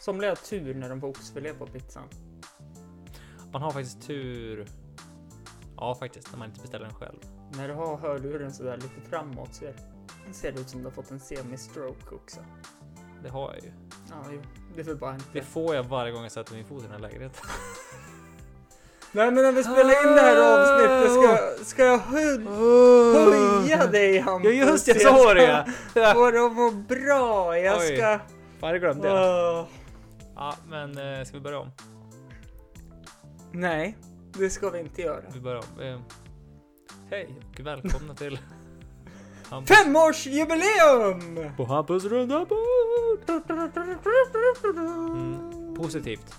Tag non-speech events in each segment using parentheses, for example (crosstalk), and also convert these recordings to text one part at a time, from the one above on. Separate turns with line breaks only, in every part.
Somliga har tur när de får oxfilé på pizzan.
Man har faktiskt tur. Ja, faktiskt, när man inte beställer den själv.
När du har hörluren sådär lite framåt ser, ser det ut som du har fått en semi-stroke också.
Det har jag ju.
Ja, jo. Det är för bara
Det
inte.
får jag varje gång jag sätter min fot i den här lägenheten. (laughs)
Nej, men när vi spelar in det här avsnittet ska, ska jag hö- höja dig
Ja,
Hampus.
just det, jag sa (laughs) det!
ska Få dig att må bra. Jag
Oj.
ska...
Fan, jag glömde det.
Åh.
Ja, men eh, ska vi börja om?
Nej, det ska vi inte göra.
Vi börjar om. Eh, hej och välkomna (laughs) till... Hampus-
Femårsjubileum!
På Hampus runda bord! Mm, positivt.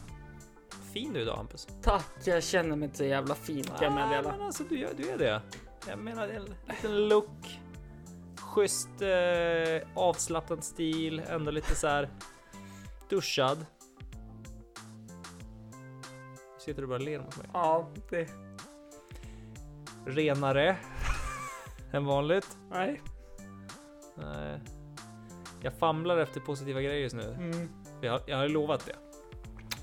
Fin du idag Hampus.
Tack, jag känner mig inte så jävla fin kan jag
Ah,
meddela.
men alltså, du, gör- du är det. Jag menar en liten look. Schysst eh, avslappnad stil, ändå lite så här duschad. Sitter du bara och ler mot mig?
Ja, det...
Renare (laughs) än vanligt.
Nej.
Nej. Jag famlar efter positiva grejer just nu.
Mm.
Jag, har- jag har ju lovat det.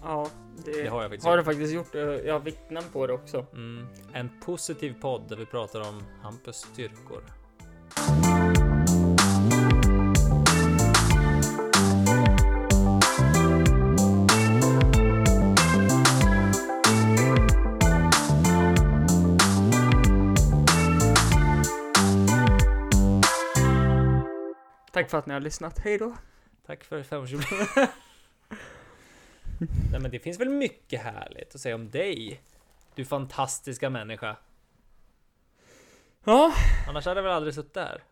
Ja, det,
Det har jag faktiskt
har du faktiskt gjort. Jag har vittnen på det också.
Mm. En positiv podd där vi pratar om Hampus styrkor.
Tack för att ni har lyssnat. Hej då.
Tack för femårsjubileet.
(laughs)
Nej men det finns väl mycket härligt att säga om dig? Du fantastiska människa.
Ja.
Annars hade jag väl aldrig suttit där?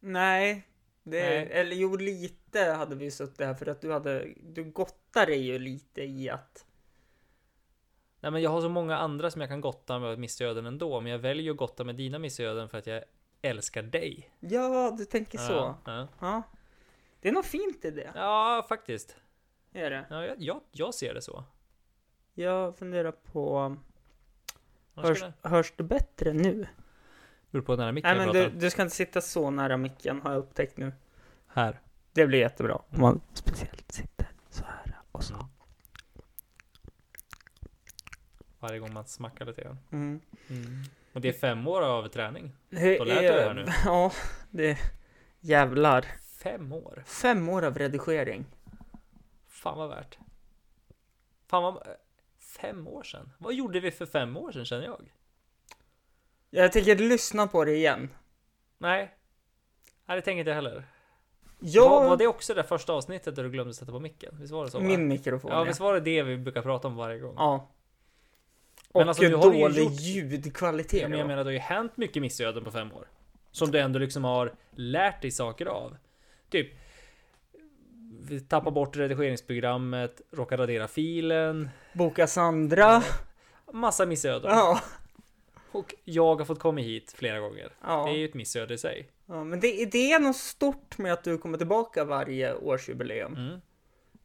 Nej. Det,
Nej.
Eller jo, lite hade vi suttit här för att du hade... Du gottar dig ju lite i att...
Nej men jag har så många andra som jag kan gotta mig åt missöden ändå. Men jag väljer att gotta med dina missöden för att jag älskar dig.
Ja, du tänker så.
Ja, ja.
Ja. Det är något fint i det.
ja faktiskt.
Är det?
Ja, jag, jag, jag ser det så.
Jag funderar på...
Annars
Hörs,
skulle-
hörs det bättre nu?
Beror på nära micken
Nej
jag
men
pratar.
du, du ska inte sitta så nära micken har jag upptäckt nu.
Här.
Det blir jättebra om man speciellt sitter så här och så.
Mm. Varje gång man smackar lite grann.
Mm.
Och det är fem år av träning.
Det
Då lät
är-
det här nu.
(laughs) Ja, det... Jävlar.
Fem år?
Fem år av redigering.
Fan vad värt. Fan vad... Fem år sedan? Vad gjorde vi för fem år sedan känner jag?
Jag tänker lyssna på det igen.
Nej. Nej, det tänker inte jag heller. Var, var
Jag...
det också det där första avsnittet där du glömde sätta på micken? Visst var det så? va?
Min mikrofon,
ja,
ja.
visst var det det vi brukar prata om varje gång?
ja.
Men
Och
alltså, nu har du ju
dålig
gjort-
ljudkvalitet.
Ja, men jag menar, det har ju hänt mycket missöden på fem år. Som du ändå liksom har lärt dig saker av. Typ, vi tappar bort redigeringsprogrammet, råkar radera filen,
Boka Sandra.
massa
(laughs)
missöden.
Ja.
Och jag har fått komma hit flera gånger.
Ja.
Det är ju ett missöde i sig.
ja. Men det, det är något stort med att du kommer tillbaka varje årsjubileum.
Mm.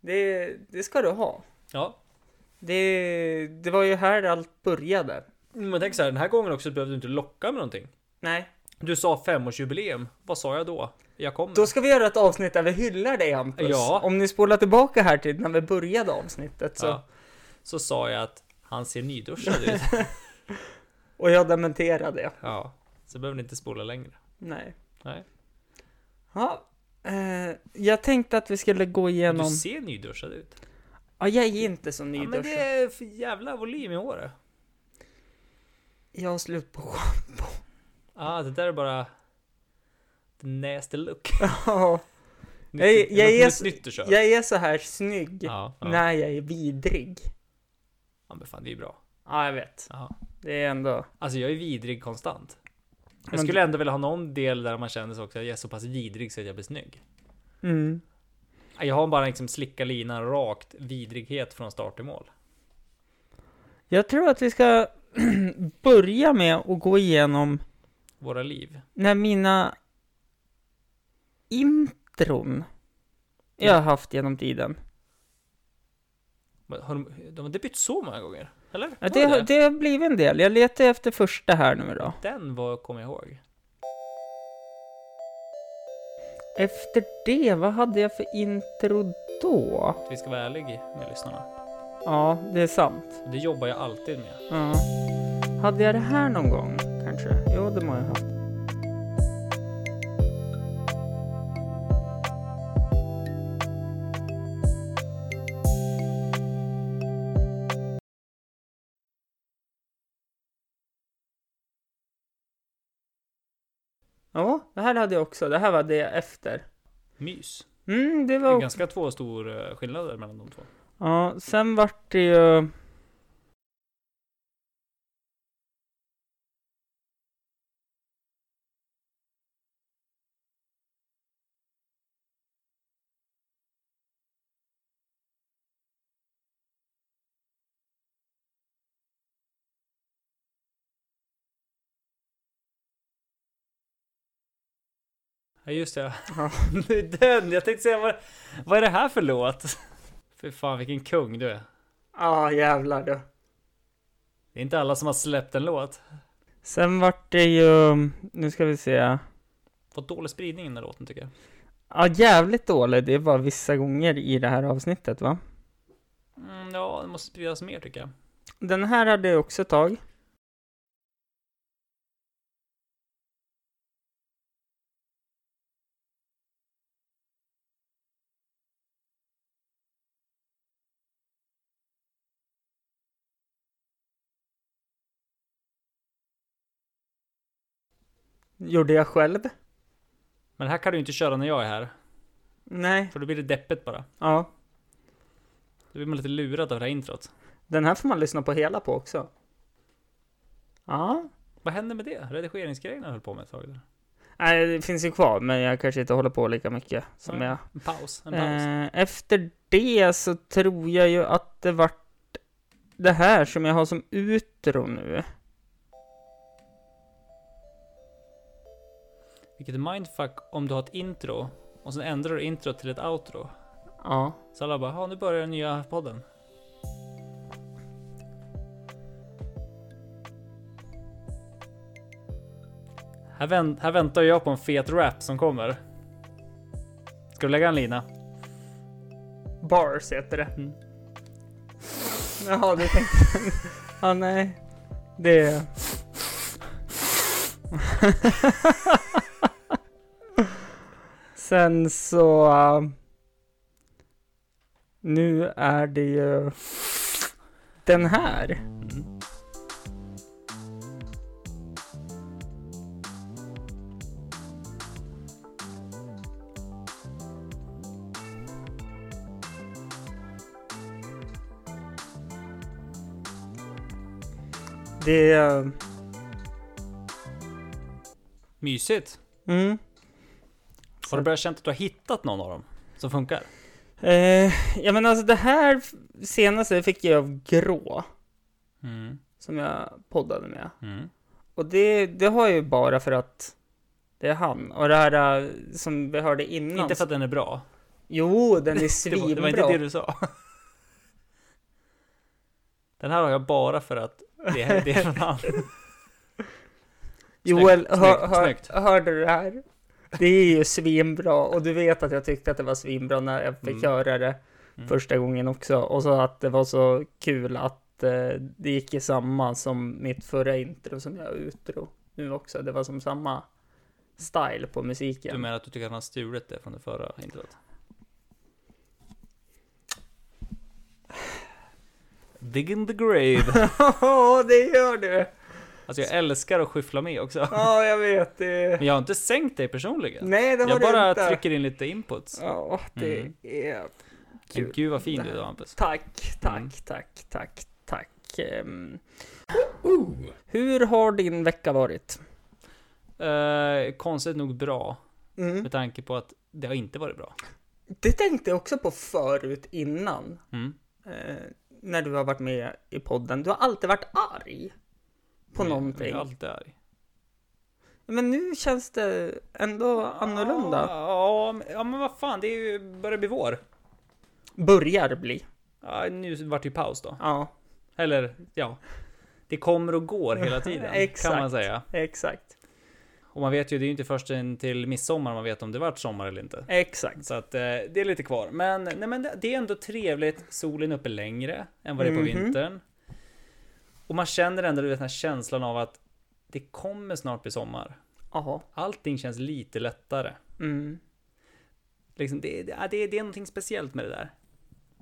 Det, det ska du ha.
Ja,
Det, det var ju här allt började.
men tänk så här, den här gången också behövde du inte locka med någonting.
Nej.
Du sa femårsjubileum. Vad sa jag då? Jag kommer.
Då ska vi göra ett avsnitt där vi hyllar dig Hampus.
Ja.
Om ni spolar tillbaka här till när vi började avsnittet så.
så. Ja. så sa jag att han ser nyduschad
(laughs)
ut.
Och jag dementerade det.
ja, så behöver ni inte spola längre.
Nej.
Nej.
Ja. Eh, jag tänkte att vi skulle gå
Men
igenom...
Du ser nyduschad ut.
Ja, jag är inte så
Ja, men
nyduschad.
det är för jävla volym i håret.
Jag har slut på
Ja, ah, det där är bara... The nasty look. (laughs)
Ja.
Nytt,
Jag- jag
något
är
nytt-
så-
nytt du kör.
Jag är så här snygg
Ja, ja.
när jag är vidrig.
ja, men fan det är ju bra.
Ja, jag vet.
Ja.
Det är ändå...
Alltså jag är vidrig konstant. Jag
Men-
skulle ändå vilja ha någon del där man känner sig också, jag är så pass vidrig så att jag blir snygg.
Mm.
Jag har bara liksom slicka linan rakt, vidrighet från start till mål.
Jag tror att vi ska (clears throat) börja med att gå igenom
Våra liv.
när mina intron jag har haft genom tiden.
Men Har de, de har inte bytt så många gånger? Eller?
Ja,
Var
det, har- det har blivit en del. Jag letar efter första här nu då.
Den var, kommer jag ihåg.
Efter det, vad hade jag för intro då?
Vi ska vara ärliga med lyssnarna.
Ja, det är sant.
Det jobbar jag alltid med.
Ja. Hade jag det här någon gång kanske? Jo, det må jag ha. Ja, det här hade jag också. Det här var det efter.
Mys.
Mm, det
Det
var
är
också.
ganska två stora skillnader mellan de två.
Ja, sen vart det ju...
Ja just det.
Ja.
(laughs) det är den. Jag tänkte säga vad, vad är det här för låt? För fan vilken kung du är.
Ja, jävlar du.
Det är inte alla som har släppt en låt.
Sen vart det ju... Nu ska vi se.
Fått dålig spridning i den här låten tycker jag.
Ja, jävligt dålig. Det var vissa gånger i det här avsnittet, va?
Mm, ja, det måste spridas mer tycker jag.
Den här hade jag också ett tag. Gjorde jag själv?
Men det här kan du inte köra när jag är här.
Nej.
För då blir det deppigt bara.
Ja.
Då blir man lite lurad av det här introt.
Den här får man lyssna på hela på också. Ja.
Vad hände med det? Redigeringsgrejerna höll på med ett tag där.
Nej, det finns ju kvar, men jag kanske inte håller på lika mycket som
Nej.
jag.
En paus. En paus.
Eh, efter det så tror jag ju att det vart det här som jag har som utro nu.
Vilket är mindfuck om du har ett intro och sen ändrar du intro till ett outro.
Ja.
Så alla bara, ja nu börjar den nya podden. Här, vänt, här väntar jag på en fet rap som kommer. Ska du lägga en lina?
Bars heter det.
Mm.
Jaha, du tänkte... (laughs) ja, nej. Det... (laughs) Sen så... eh, nu är det ju... Den här.
Mm.
Det är... eh,
Mysigt.
Mm.
Har du börjat känna att du har hittat någon av dem som funkar?
Eh, ja men alltså det här f- senaste fick jag av Grå,
Mm.
som jag poddade med.
Mm.
Och det, det har jag ju bara för att det är han. Och det här eh, som vi hörde innan.
Inte för att den är bra.
Jo, den är
(laughs) Det var,
svinbra.
det var inte det du sa. Den här har jag bara för att det, det är från han.
(laughs) Joel,
snyggt,
hör, hör,
snyggt.
hörde du det här? Det är ju svinbra och du vet att jag tyckte att det var svinbra när jag fick
Mm.
höra det
Mm.
första gången också. Och så att det var så kul att eh, det gick i samma som mitt förra intro som jag utro nu också. Det var som samma style på
Du
musiken.
menar att du tycker att han har stulit det från det förra introt? Dig in the grave.
(laughs) Ja, det gör du!
Alltså jag älskar att skyffla med också.
Ja, jag vet. Det...
(laughs) Men jag har inte sänkt dig personligen.
Nej, det har
Jag
du
bara
inte.
trycker in lite inputs.
Ja, det
Mm.
är
Men
kul.
gud vad fin du är Hampus.
Tack, tack,
Mm.
tack, tack, tack. Ehm, Hur har din vecka varit?
Eh, konstigt nog bra.
Mm.
Med tanke på att det har inte varit bra.
Det tänkte jag också på förut innan.
Mm.
Eh, när du har varit med i podden. Du har alltid varit arg. På
Men- men
någonting.
Jag är alltid arg.
Men nu känns det ändå
Ah.
annorlunda.
Ja, men- ja men vad fan det är ju, börjar bli vår.
Börjar bli.
Ja, nu vart det ju paus då.
Ja, (laughs)
Eller ja, det kommer och går hela tiden. kan
Exakt.
man säga.
exakt.
Och man vet ju, det är ju inte förrän till midsommar man vet om det vart sommar eller inte.
Exakt.
Så att eh, det är lite kvar. Men, nej, men det- det är ändå trevligt. Solen är uppe längre än vad det är på
Mhm.
vintern. Och man känner ändå du vet, den här känslan av att det kommer snart bli sommar.
Jaha.
Allting känns lite lättare.
Mm.
Liksom, det, det, ja, det, det är någonting speciellt med det där.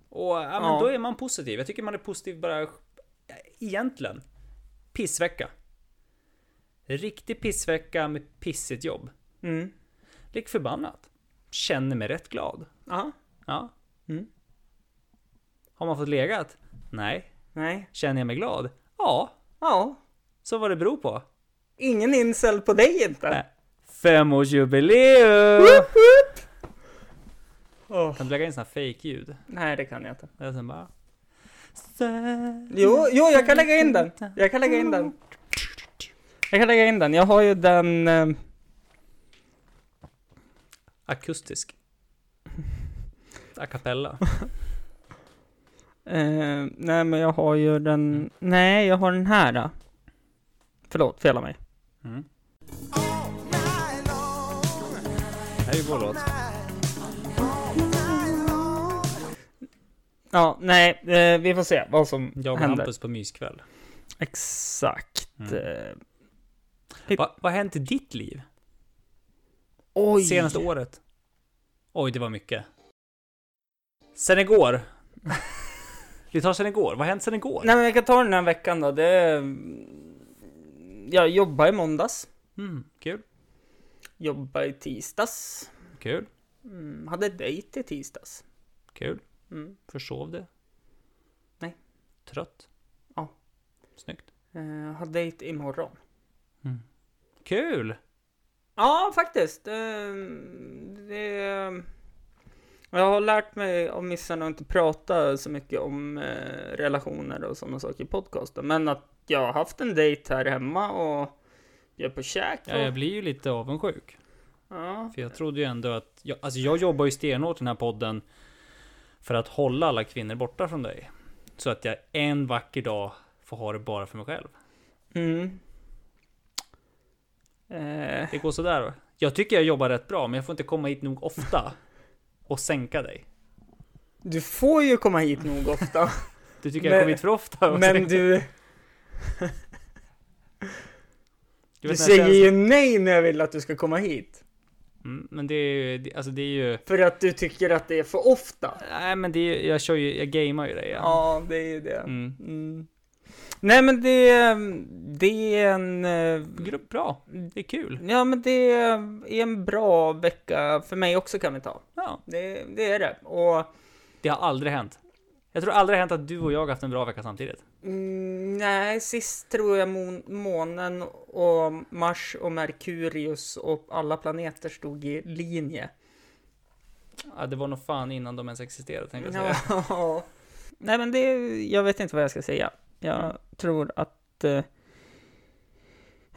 Och ja, men
Ja.
då är man positiv. Jag tycker man är positiv bara ja, egentligen. Pissvecka. Riktig pissvecka med pissigt jobb.
Mm.
Lik förbannat. Känner mig rätt glad.
Ja.
Ja.
Mm.
Har man fått legat? Nej.
Nej.
Känner jag mig glad? Ja.
Ja.
Så vad det beror på.
Ingen incel på dig inte.
Nej. Femårsjubileum!
Woop, woop. Åh.
Kan du lägga in såna fake-ljud?
Nej, det kan jag inte.
Och sen bara...
Jo, jo, jag kan lägga in den. Jag kan lägga in den. Jag kan lägga in den. Jag har ju den... eh,
Akustisk. A
(laughs)
cappella.
Eh, nej, men jag har ju den... Nej, jag har den här. Då. Förlåt, fel av mig.
Mm.
All night long,
Det här är ju vår låt.
all night long.
Ja, nej, eh, vi får se vad som
Jag och
händer.
Hampus på myskväll.
Exakt.
Mm.
Eh,
Va, vad har hänt i ditt liv?
oj!
Senaste året? Oj, det var mycket.
(laughs)
Sen igår. Vi tar sen igår. Vad har hänt sen igår?
Nej, men jag kan ta den här veckan då. Det... är- Jag jobbar i måndags.
Mm, kul.
Jobbar i tisdags.
Kul.
Mm, hade dejt i tisdags.
Kul.
Mm.
Försov det?
Nej.
Trött?
Ja.
Snyggt.
Eh, har dejt imorgon.
Kul!
Ja, faktiskt. Eh, Det, jag har lärt mig av missarna att inte prata så mycket om eh, relationer och sådana saker i podcasten. Men att jag har haft en dejt här hemma och jag är på käk. Och,
Ja, jag blir ju lite avundsjuk.
ja.
För jag trodde ju ändå att... Jag, alltså jag jobbar ju stenhårt i den här podden för att hålla alla kvinnor borta från dig. Så att jag en vacker dag får ha det bara för mig själv.
Mm. Eh,
Det går sådär. Jag tycker jag jobbar rätt bra, men jag får inte komma hit nog ofta och sänka dig.
du får ju komma hit nog
(laughs)
ofta,
Du tycker jag
Men-
kommer hit för ofta? (laughs)
(laughs)
och
men
sänker-
du,
Du
du
vet den här
säger
känslan-
ju nej när jag vill att du ska komma hit.
Mm, Men det är ju... det- Alltså det är ju...
För att du tycker att det är för ofta.
Nej men det är ju... Jag kör ju... Jag gamear ju dig. Ja.
Ja, det är ju det.
Mm.
Mm. Nej men det, det är en... eh,
Grupp bra. Det är kul.
Ja men det är en bra vecka för mig också kan vi ta.
Ja.
Det, det är det. Och
Det har aldrig hänt. Jag tror aldrig det har hänt att du och jag har haft en bra vecka samtidigt.
mm, nej, sist tror jag mon, månen och Mars och Merkurius och alla planeter stod i linje.
Ja, det var nog fan innan de ens existerade tänkte jag säga.
Ja. Nej men det, jag vet inte vad jag ska säga. Jag
Mm.
tror att... Eh,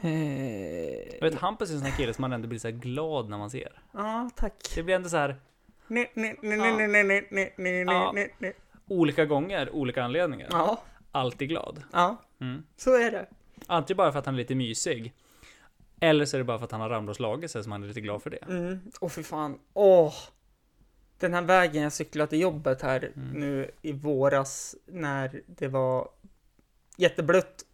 eh,
Jag vet, Hampus är en sån här kille som man ändå blir så här glad när man ser.
ja, tack.
Det blir ändå så här
Nej, nej, nej,
Ja.
nej, nej, nej, nej, nej, nej,
Ja.
nej, nej.
olika gånger, olika anledningar.
Ja,
Alltid glad.
ja,
Mm.
så är det.
Antingen bara för att han är lite mysig. Eller så är det bara för att han har ramlat och slagit sig som han är lite glad för det.
Mm. Och för fan, åh! Den här vägen jag cyklade till jobbet här
Mm.
nu i våras när det var jätteblött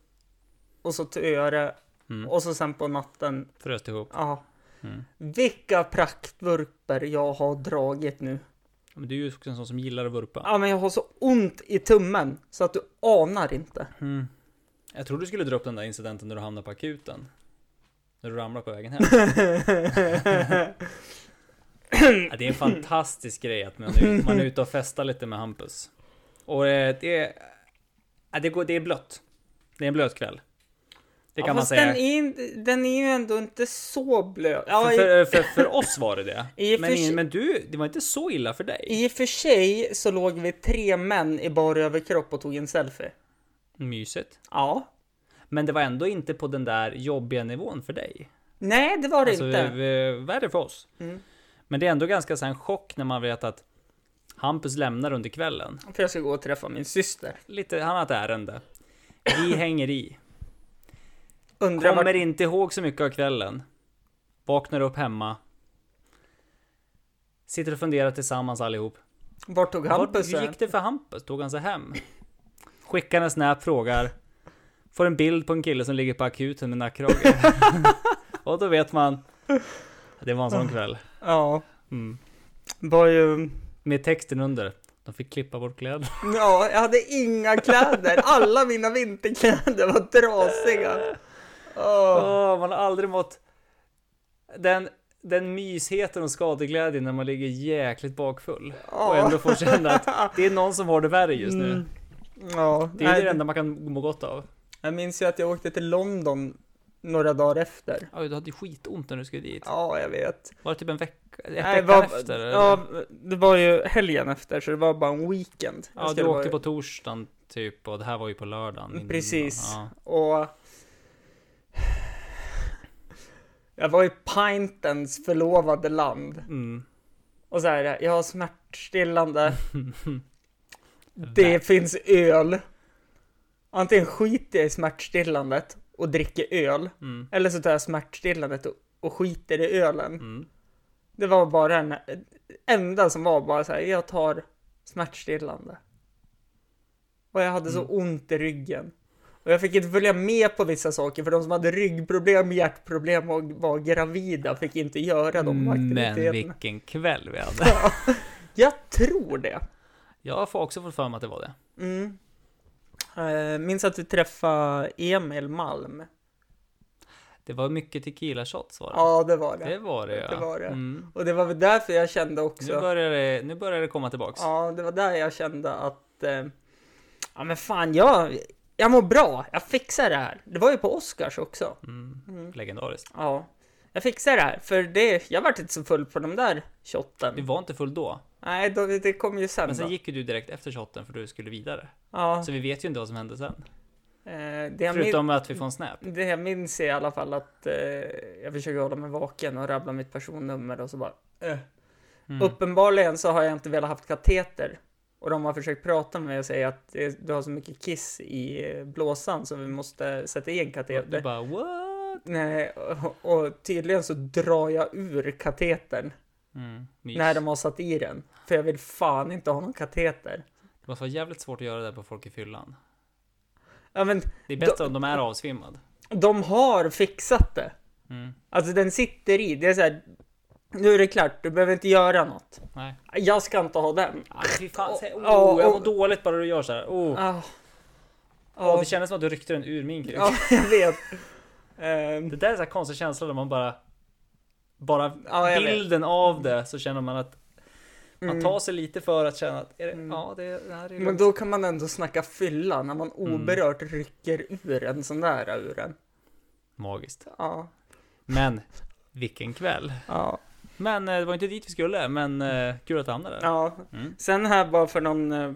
och så töre
Mm.
och så sen på natten,
Frös ihop.
ja.
Mm.
Vilka praktvurper jag har dragit nu.
Men du är ju också en sån som gillar att vurpa.
Ja, men jag har så ont i tummen så att du anar inte.
Mm. Jag tror du skulle dra upp den där incidenten när du hamnade på akuten. När du ramlade på
(laughs)
vägen hem. Ja, det är en fantastisk grej att man är, man är ute och festar lite med Hampus. Och eh, det är... Ja, det, går, det är blött. Det är en blöt kväll. Det kan
ja,
man
fast
säga.
Den är, inte- den är ju ändå inte så blöt. Ja,
för,
i-
för, för, för oss var det det.
(laughs) I och
men,
för
ingen,
sig-
men du, det var inte så illa för dig.
I och för sig så låg vi tre män i bar överkropp och tog en selfie.
Mysigt.
Ja.
Men det var ändå inte på den där jobbiga nivån för dig.
Nej, det var det
Alltså,
inte. Mm.
v- värre för oss. Men det är ändå ganska så här, en chock när man vet att Hampus lämnar under kvällen.
För jag ska gå och träffa min syster.
Lite, han har ett ärende.
(clears throat)
Vi hänger i.
Undrar
Kommer
vart...
inte ihåg så mycket av kvällen. Vaknar upp hemma. Sitter och funderar tillsammans allihop.
Vart tog
Vad-
Hampus
Hur
gick...
gick det för Hampus? Tog han sig hem? Skickar en snap, frågar. Får en bild på en kille som ligger på akuten
(laughs)
med nackkrage. och då vet man. Det var en sån kväll.
Ja,
Mm.
var ju...
Med texten under. De fick klippa bort kläder.
Ja, jag hade inga
(laughs)
kläder. Alla mina vinterkläder var trasiga. Åh.
Åh, man har aldrig mått den, den mysheten och skadeglädjen när man ligger jäkligt bakfull. Och ändå får känna
(laughs)
att det är någon som har det värre just nu.
Mm. Ja,
Det är
nej,
det enda man kan må gott av.
Jag minns ju att jag åkte till London några dagar efter.
Oj, du hade ju skitont när du skulle dit.
Ja, jag vet.
Var det typ en vecka? Ett
Nej,
veckan
vad-
efter? eller?
Ja, det var ju helgen efter, så det var bara en weekend. Jag
ja du
skulle
åkte på
vara- Mm,
torsdagen typ och det här var ju på lördagen. innan.
Precis.
Ja.
Och... Jag var i Pintons förlovade land.
Mm.
Och så här, jag har
(laughs)
smärtstillande. Det finns öl. Antingen skiter jag i smärtstillandet och dricker öl.
Mm.
Eller så tar jag smärtstillandet och, och skiter i ölen.
Mm.
Det var bara den enda som var bara så här, jag tar smärtstillande. Och jag hade så ont i ryggen. Och jag fick inte följa med på vissa saker för de som hade ryggproblem, hjärtproblem och var gravida fick inte göra de
Men
aktiviteterna.
vilken kväll vi hade.
Jag tror det.
Jag får också fått för mig att det var det.
Mm. Eh, Minns att du träffade Emil Malm?
Det var mycket tequila shots var det.
Ja, det var det.
Det var det ja.
Det var det.
Mm.
Och det var väl därför jag kände också...
Nu börjar det, nu börjar det komma tillbaks.
Ja, det var där jag kände att... Eh, ja, men fan, jag, jag mår bra. Jag fixar det här. Det var ju på Oscars också.
Mm. Legendariskt.
Ja. Jag fixar det här, för det, jag vart inte så full på de där
Du
shotten.
var inte full då.
Nej, då, det kom ju sen,
Men sen
då.
gick ju du direkt efter shotten för du skulle vidare.
Ja,
Så vi vet ju inte vad som hände sen.
eh, det, jag min,
Förutom att vi får en snap.
det jag minns är i alla fall att eh, jag försöker hålla mig vaken och rabbla mitt personnummer och så bara... Eh. Uppenbarligen så har jag inte velat haft kateter. Och de har försökt prata med mig och säga att eh, du har så mycket kiss i eh, blåsan så vi måste sätta i en
Och Du
kateter.
bara what?
Nej, och, och tydligen så drar jag ur katetern
Mm. Mys.
när de har satt i den. För jag vill fan inte ha någon kateter.
Det måste vara jävligt svårt att göra det där på folk i fyllan.
Ja men,
Det är bättre om de är avsvimmad.
de har fixat det.
Mm.
Alltså den sitter i. Det är så här, nu är det klart, du behöver inte göra något.
Nej.
Jag ska inte ha den.
Ah, fy fan. säg-
Ja,
Oh, jag
och-
mår dåligt bara du gör så här. Oh.
Ah.
Åh,
Ja,
det kändes som att du ryckte den ur min kuk.
ja, jag vet. Ehm,
Det där är så här konstig känsla där man bara... Bara
Ja, jag vet. Mm.
bilden av det så känner man att man tar sig lite för att känna att är det, ja, det, det här är
Men då kan man ändå snacka fylla när man
Mm.
oberört rycker ur en sån där ur en.
magiskt.
Ja.
Men vilken kväll.
Ja.
Men eh, det var inte dit vi skulle, men eh, kul att du hamnade där.
ja.
Mm.
Sen här bara för någon, eh,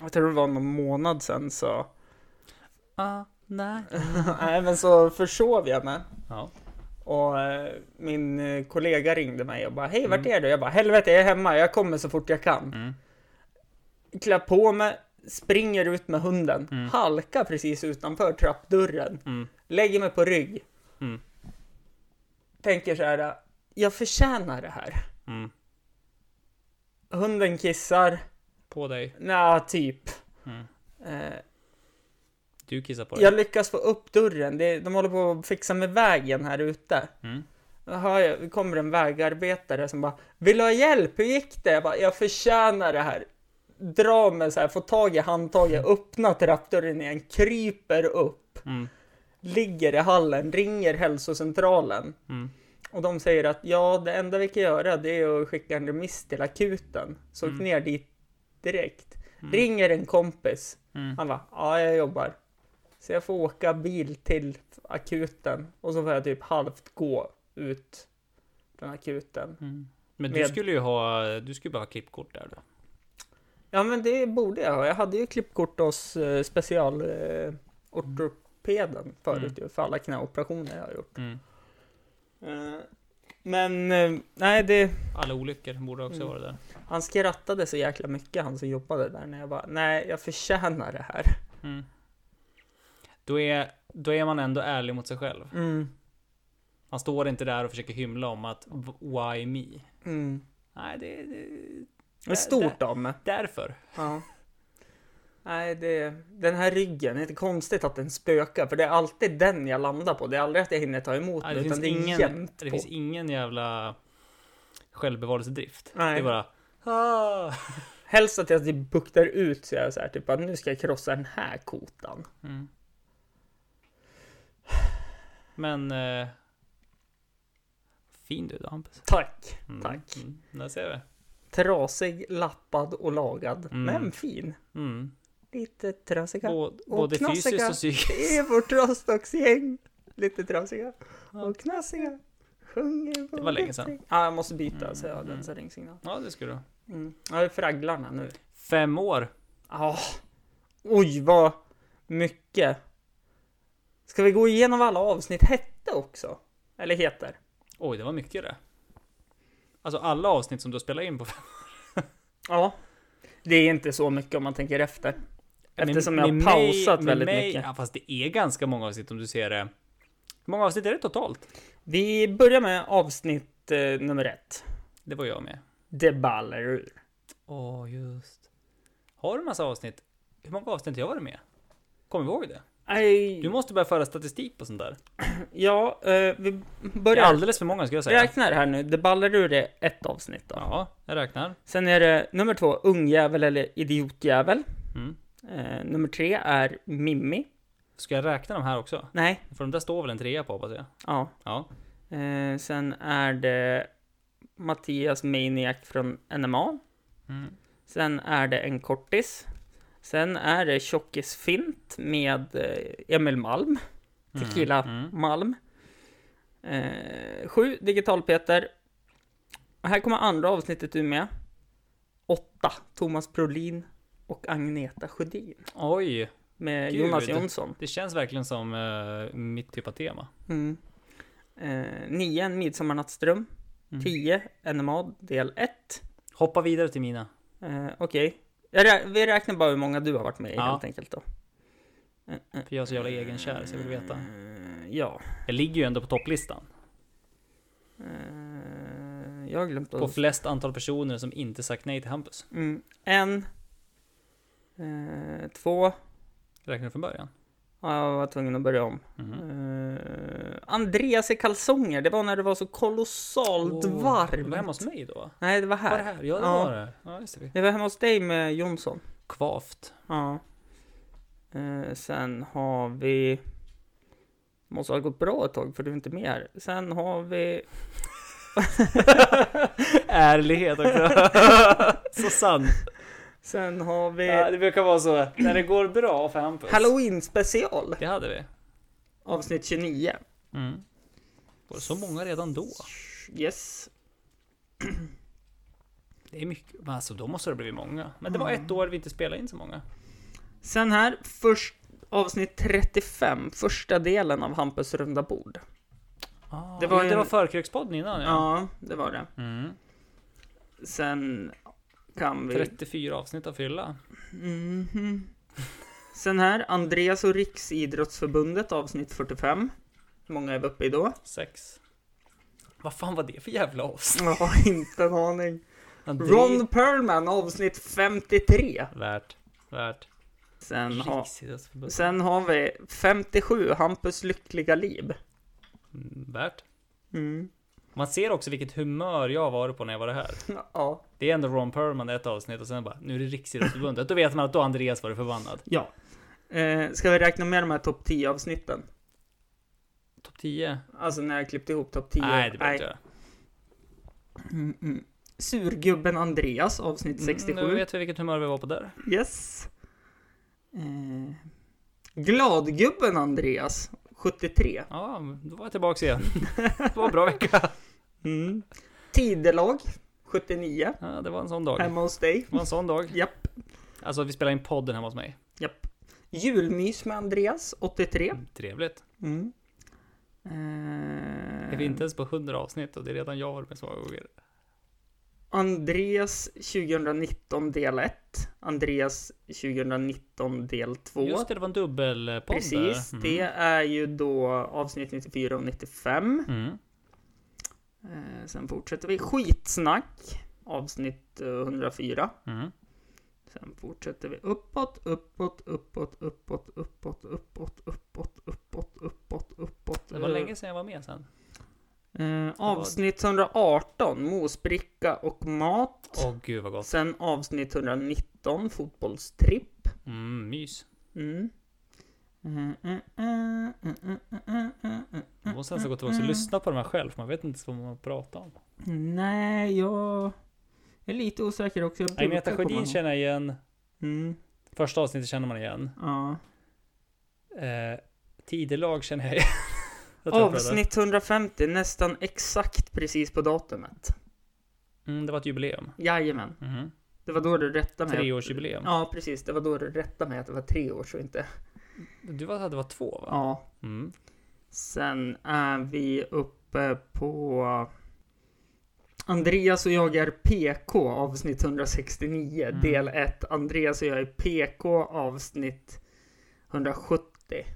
jag tror det var någon månad sen så,
(laughs) Ah, nej.
nej men så försov jag mig.
Ja.
Och eh, min eh, kollega ringde mig och bara hej vart är du? Jag bara helvete jag är hemma, jag kommer så fort jag kan.
Mm.
Klär på mig, springer ut med hunden, halkar precis utanför trappdörren,
Mm.
lägger mig på rygg.
Mm.
Tänker så här, jag förtjänar det här.
Mm.
Hunden kissar,
På dig.
nja typ.
Mm.
Eh,
Du kissar på dig.
jag lyckas få upp dörren, det, de håller på att fixa med vägen här ute.
Mm.
Då hör jag, det kommer en vägarbetare som bara Vill du ha hjälp? Hur gick det? Jag bara, jag förtjänar det här. Dra mig så här, får tag i handtaget, öppnar trappdörren igen, kryper upp.
Mm.
Ligger i hallen, ringer hälsocentralen.
Mm.
Och de säger att ja, det enda vi kan göra det är att skicka en remiss till akuten. Så
Mm.
åk ner dit direkt. Ringer en kompis.
Mm.
Han bara, ja jag jobbar. Så jag får åka bil till akuten och så får jag typ halvt gå ut från akuten.
Men du
Med-
skulle ju ha, du skulle bara ha klippkort där då.
Ja men det borde jag ha. Jag hade ju klippkort hos eh, special eh, ortopeden förut ju, för alla knäoperationer jag har gjort.
Mm.
Eh, men eh, nej, det,
Alla olyckor borde också
Mm.
vara där.
han skrattade så jäkla mycket han som jobbade där när jag bara, nej jag förtjänar det här.
Mm. Då är, då är man ändå ärlig mot sig själv.
Mm.
Han står inte där och försöker hymla om att "V- why me?
Mm.
Nej, det, Eh, det
Det är stort av mig.
därför.
Ja. Nej, det, den här ryggen, det är inte konstigt att den spökar, för det är alltid den jag landar på. Det är aldrig att jag hinner ta emot
Nej,
den,
det,
utan
finns
det är
ingen,
jämnt
det
på.
finns ingen jävla självbevarelsedrift.
Nej.
Det är bara ah.
Helst att jag typ buktar ut så jag är så här, typ att nu ska jag krossa den här kotan.
Mm. Men... Eh, fin du då Hampus.
Tack!
Mm,
Tack.
Mm, där ser vi.
Trasig, lappad och lagad,
Mm.
men fin.
Mm.
Lite trasiga.
Bå- både
knasiga.
fysiskt och psykiskt.
Det är vårt rostocksgäng. Lite trasiga och knasiga. Sjunger på
Det var länge sedan. Mm.
bättring. Ja, jag måste byta så jag har den som ringsignal.
Ja, det skulle du ha.
Mm. Jag är fragglarna nu.
Fem år.
Ah. Oj, vad mycket. Ska vi gå igenom vad alla avsnitt hette också? Eller heter?
Oj, det var mycket det. Alltså alla avsnitt som du spelar in på fem
Ja. Det är inte så mycket om man tänker efter.
Med-
Eftersom jag har
med
pausat
med
väldigt
mig-
mycket.
Ja, fast det är ganska många avsnitt om du ser det. Hur många avsnitt är det totalt?
Vi börjar med avsnitt eh, nummer ett.
Det var jag med.
Det ballar ur.
Åh, just. Har du en massa avsnitt? Hur många avsnitt har jag varit med? Kommer du ihåg det?
Aj.
Du måste börja föra statistik på sånt där.
Ja, eh, vi
Det är
börjar.
alldeles för många ska jag säga.
Räkna det här nu. Det ballar ur är ett avsnitt då.
Ja, jag räknar.
Sen är det nummer två, ungjävel eller idiotjävel.
Mm.
Eh, nummer tre är Mimmi.
Ska jag räkna de här också?
Nej,
För de där står väl en trea på hoppas jag.
ja.
Ja.
Eh, sen är det Mattias Maniac från NMA.
Mm.
Sen är det en kortis. Sen är det Tjockis Fint med eh, Emil Malm. Tequila
Mm.
Malm. Eh, sju Digital-Peter. Och här kommer andra avsnittet du med. Åtta Thomas Brolin och Agneta Sjödin
Oj,
med
Gud.
Jonas Jonsson.
det känns verkligen som eh, mitt typ av tema.
Mm. Eh, nio En midsommarnattsdröm.
Mm.
Tio NMA del ett.
Hoppa vidare till mina.
Eh, Okej. Jag rä- Vi räknar bara hur många du har varit med i
Ja.
helt enkelt då.
För jag är så jävla egenkär så jag vill veta.
Eh, ja.
Jag ligger ju ändå på topplistan.
Eh, jag har glömt
På
att...
flest antal personer som inte sagt nej till Hampus.
Mm. En. Eh, två.
Räknar du från början?
Ja, jag var tvungen att börja om.
Mhm.
Eh, Andreas i kalsonger, det var när det var så kolossalt
Åh,
varmt.
Var hemma hos mig då?
Nej, det var
Var
här.
det här? Ja, det
Ja.
var det. Ja, just det.
Det var hemma hos dig med Jonsson.
Kvavt.
Ja. Eh, sen har vi... Måste ha gått bra ett tag för du är inte med här. Sen har vi...
(laughs) Ärlighet också. (laughs) så sant.
Sen har vi...
Ja, det brukar vara så när det går bra för Hampus.
Halloween special!
Det hade vi.
Avsnitt 29.
Mm. Var det så många redan då?
Yes.
Det är mycket. Men Alltså då måste det ha blivit många. Men det var ett år vi inte spelade in så många.
Sen här, först, avsnitt 35, första delen av Hampus runda bord.
Ah,
Det
det
var
var, det
en-
var förkrökspodden innan ja.
Ja, det var det.
Mm.
Sen kan vi...
34 avsnitt att fylla.
Mhm. Sen här, Andreas och Riksidrottsförbundet, avsnitt 45. Hur många är vi uppe i då?
Sex. Vad fan var det för jävla avsnitt?
Jag har inte en aning.
André-
Ron Perlman, avsnitt 53.
Värt. Värt. alltså,
Sen, ha,
Riksidrottsförbundet.
sen har vi 57, Hampus lyckliga liv.
Mm, Värt.
Mm.
Man ser också vilket humör jag har varit på när jag var här.
(laughs) Ja.
Det är ändå Ron Perlman i ett avsnitt och sen bara nu är det Riksidrottsförbundet. Då vet man att då har Andreas varit förbannad.
ja. Eh, ska vi räkna med de här topp 10 avsnitten?
Topp 10?
Alltså när jag klippte ihop topp 10.
Nej, det behöver inte göra.
Mm, mm. Surgubben Andreas, avsnitt 67.
Mm, nu vet vi vilket humör vi var på där.
Yes. Eh, gladgubben Andreas, 73.
Ja, men då var jag tillbaks igen. (laughs) Det var en bra vecka.
Mm. Tidelag, 79.
Ja, det var en sån dag. Det
Hemma hos dig.
var en sån dag.
Japp.
Alltså vi spelade in podden hemma hos mig.
Japp. Julmys med Andreas, 83.
Trevligt.
Mm. Eh,
Är vi inte ens på 100 avsnitt och det är redan jag har varit med så många gånger.
Andreas 2019 del 1. Andreas 2019 del 2.
Just det, det var en dubbelpodd
Precis.
där. Mm.
Det är ju då avsnitt 94 och 95.
Mm.
Eh, sen fortsätter vi skitsnack. Avsnitt eh, 104.
Mm.
Sen fortsätter vi uppåt, uppåt, uppåt, uppåt, uppåt, uppåt, uppåt, uppåt, uppåt, uppåt.
Det var
Eh,
länge sedan jag var med sen.
Eh, avsnitt 118, mosbricka och mat.
Åh gud vad gott.
Sen avsnitt 119, fotbollstripp.
Mm, mys.
Mm. Mm, mm, mm, mm, mm, mm, mm, mm.
Man måste nästan gå tillbaka och lyssna på de här själv, för man vet inte vad man pratar om.
Nej, jag är lite osäker också. Jag brukar
Agneta
komma
Sjödin
ihåg.
känner jag igen.
Mm,
Första avsnittet känner man igen.
ja.
Eh, tidelag känner jag igen. (laughs) Jag tror jag pratar.
Avsnitt 150, nästan exakt precis på datumet.
Mm, det var ett jubileum.
Jajamän.
Mhm.
Det var då du rättade mig.
Treårsjubileum.
Ja, precis. Det var då du rättade mig att det var tre år, så inte...
Du var, hade varit två va?
Ja.
Mm.
Sen är vi uppe på... Andreas och jag är PK, avsnitt 169,
Mm.
del 1. Andreas och jag är PK, avsnitt 170.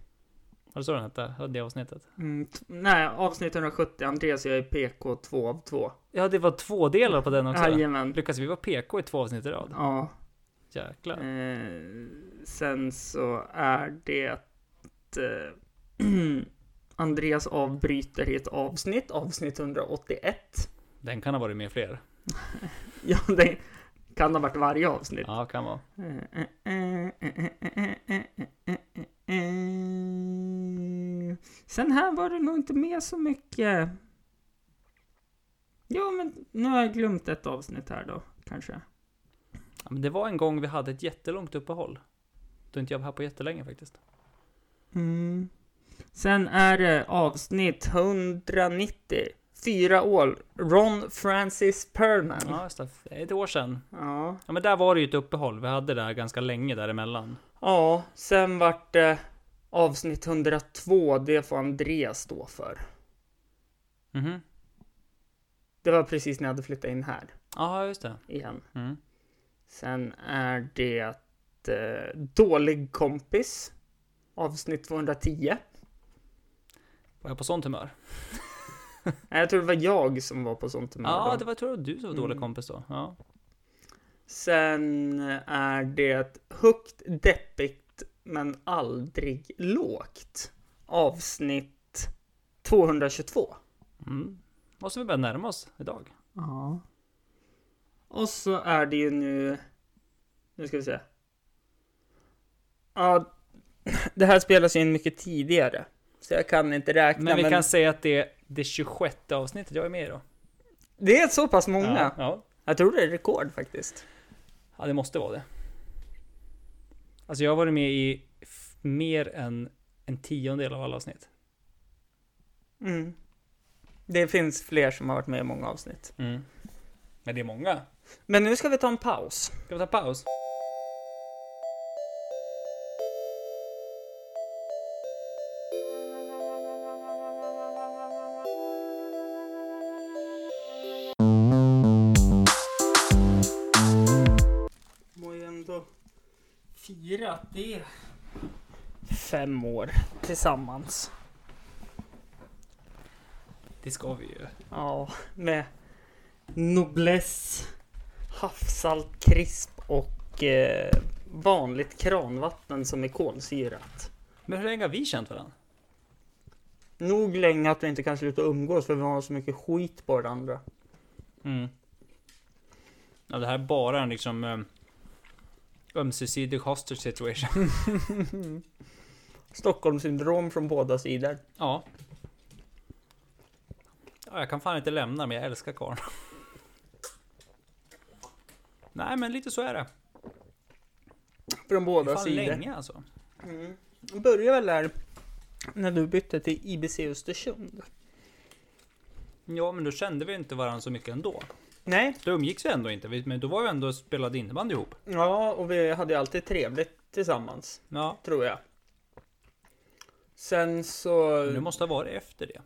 Var det så den hette? Ja, Det avsnittet?
Mm, t- nej, avsnitt 170. Andreas och jag är PK, 2 av 2.
Ja, det var två delar på den också.
Jajamän.
Lukas, vi var PK i två avsnitt i rad.
Ja.
Jäklar.
Eh, sen så är det eh, (clears throat) Andreas avbryter i ett avsnitt, avsnitt 181.
Den kan ha varit med fler.
(laughs) Ja, det kan ha varit varje avsnitt. Eh,
Ja, kan vara.
eh. Sen här var det nog inte med så mycket. Jo, men nu har jag glömt ett avsnitt här då, kanske.
Ja, men det var en gång vi hade ett jättelångt uppehåll. Då inte jag var här på jättelänge faktiskt.
Mm. Sen är det avsnitt 190. Fyra år. Ron Francis Perman.
Ja, just det. Det är Ett år sedan.
Ja.
Ja, men där var det ju ett uppehåll. Vi hade det här ganska länge däremellan.
Ja, sen vart det avsnitt 102. Det får Andreas stå för.
Mhm.
Det var precis när jag hade flyttat in här
Ja, just det.
igen.
Mm.
Sen är det eh, Dålig kompis. Avsnitt 210.
Var jag på sånt humör?
Nej, jag tror det var jag som var på sånt humör
Ja,
då.
det var, jag tror det var du som var dålig
Mm.
kompis då. Ja.
Sen är det högt, deppigt, men aldrig lågt. Avsnitt 222.
Mm. Måste vi börja närma oss idag?
Ja. Och så är det ju nu... Nu ska vi se. Ja, (clears throat) det här spelas ju in mycket tidigare. Så jag kan inte räkna.
Men vi kan säga att det är det 26 avsnittet jag är med i då.
Det är så pass många.
Ja, ja.
Jag tror det är rekord faktiskt.
ja, det måste vara det. Alltså jag har varit med i f- mer än en tiondel av alla avsnitt.
Mm. Det finns fler som har varit med i många avsnitt.
Mm. Men det är många.
Men nu ska vi ta en paus.
Ska vi ta paus?
må ju ändå fira att det är fem år tillsammans.
Det ska vi ju.
Ja, med Noblesse, havssalt, krisp och eh, vanligt kranvatten som är kolsyrat.
Men hur länge har vi känt varandra?
Nog länge att vi inte kan sluta umgås för vi har så mycket skit på varandra.
Mm. Ja, det här är bara en liksom eh, ömsesidig hostage situation.
Stockholmssyndrom från båda sidor.
Ja. ja. Jag kan fan inte lämna men jag älskar karln. (laughs) Nej men lite så är det.
Från
Det
båda
är fan
sidor.
länge alltså.
Mm. Det började väl där när du bytte till IBC Östersund?
Ja men då kände vi inte varandra så mycket ändå.
Nej,
Då umgicks vi ändå inte. Vi- Men då var vi ändå och spelade innebandy ihop.
Ja, och vi hade ju alltid trevligt tillsammans,
Ja.
tror jag. Sen så...
Men det måste ha varit efter det.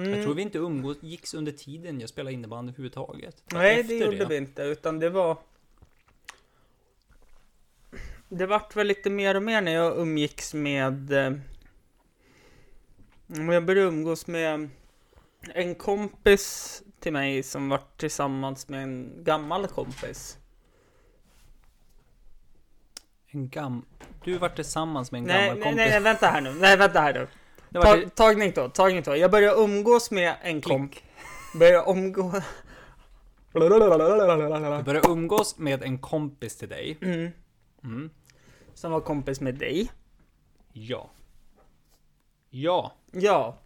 Mm.
Jag tror vi inte umgicks under tiden jag spelade innebandy överhuvudtaget. För att
Nej,
efter
det gjorde vi inte, utan det var... Det vart väl lite mer och mer när jag umgicks med... eh, men Jag började umgås med en kompis till mig som vart tillsammans med en gammal kompis.
En gam... Du var tillsammans med en
Nej,
gammal
nej,
kompis.
nej, nej, vänta här nu. Nej, vänta här nu.
Det var
Ta, tagning då, tagning då. Jag började umgås med en kompis. Började omgå...
Du började umgås med en kompis till dig.
Mm,
Mm.
som var kompis med dig.
Ja. Ja.
Ja.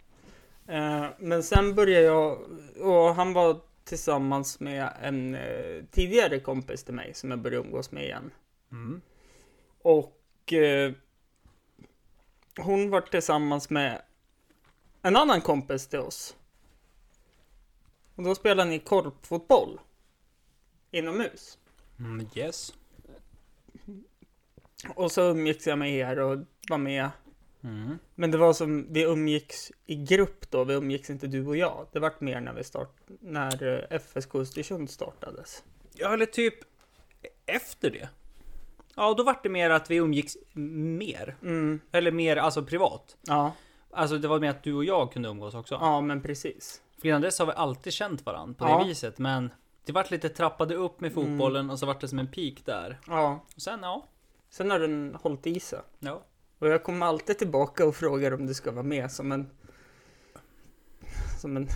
Eh, men sen började jag, och han var tillsammans med en eh, tidigare kompis till mig som jag började umgås med igen.
Mm.
Och eh, hon var tillsammans med en annan kompis till oss. Och då spelade ni korpfotboll. Inomhus.
Mm, yes.
Och så umgicks jag med er och var med.
Mm.
Men det var som, vi umgicks i grupp då, vi umgicks inte du och jag. Det vart mer när vi start, när eh, FSK Östersund startades.
Ja, eller typ efter det. Ja, då var det mer att vi umgicks mer.
Mm,
Eller mer, alltså privat.
ja,
Alltså det var mer att du och jag kunde umgås också.
ja men precis.
För innan dess har vi alltid känt varandra på det
Ja.
viset. Men det vart lite trappade upp med fotbollen och så vart det som en peak där.
Ja.
Och sen ja.
Sen har den hållit i sig.
ja.
Och jag kommer alltid tillbaka och frågar om du ska vara med som en... Som en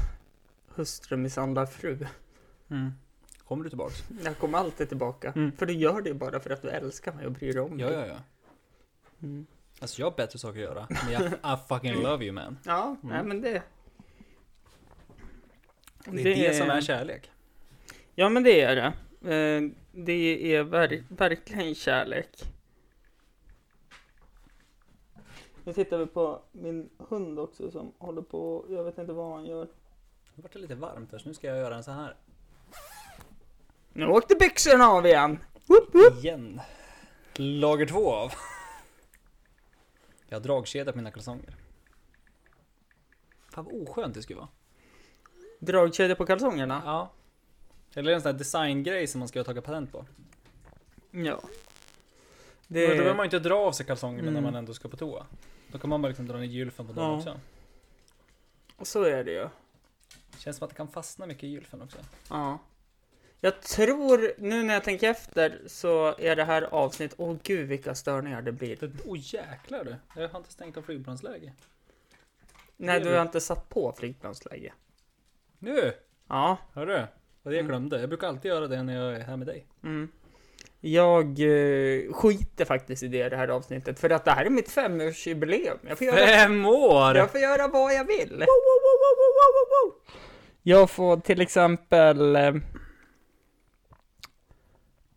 hustrumisshandlad fru.
Mm. Kommer du tillbaks?
Jag kommer alltid tillbaka.
Mm.
För du gör det bara för att du älskar mig och bryr dig om
Ja,
mig.
ja, ja.
Mm.
Alltså jag har bättre saker att göra. Men jag I fucking love you man.
Ja, nej men det...
Det är det, som är kärlek.
Ja men det är det. Eh, Det är ver- verkligen kärlek. Nu tittar vi på min hund också som håller på, jag vet inte vad han gör.
Nu vart det lite varmt här så nu ska jag göra en så här.
Nu åkte byxorna av igen! Woop, woop.
Igen. Lager två av. Jag har dragkedja på mina kalsonger. Fan vad oskönt det skulle vara.
Dragkedja på kalsongerna?
Ja. Eller en sån här designgrej som man ska ta patent på.
Ja.
Det... Då
Det,
behöver man ju inte dra av sig kalsongerna
Mm.
när man ändå ska på toa. Då kan man bara liksom dra ner gylfen på dem
Ja.
också.
så är det ju.
Känns som att det kan fastna mycket i gylfen också.
Ja. Jag tror, nu när jag tänker efter, så är det här avsnitt, åh gud vilka störningar det blir.
Det, oh jäklar du! Jag har inte stängt av flygplansläge.
Nej, du har inte satt på flygplansläge.
Nu!
Ja.
Hör du? Vad jag
Mm.
glömde. Jag brukar alltid göra det när jag är här med dig.
Mm. Jag eh, skiter faktiskt i det, det här avsnittet för att det här är mitt femårsjubileum. Jag får göra,
Fem år!
jag får göra vad jag vill. Jag får till exempel eh,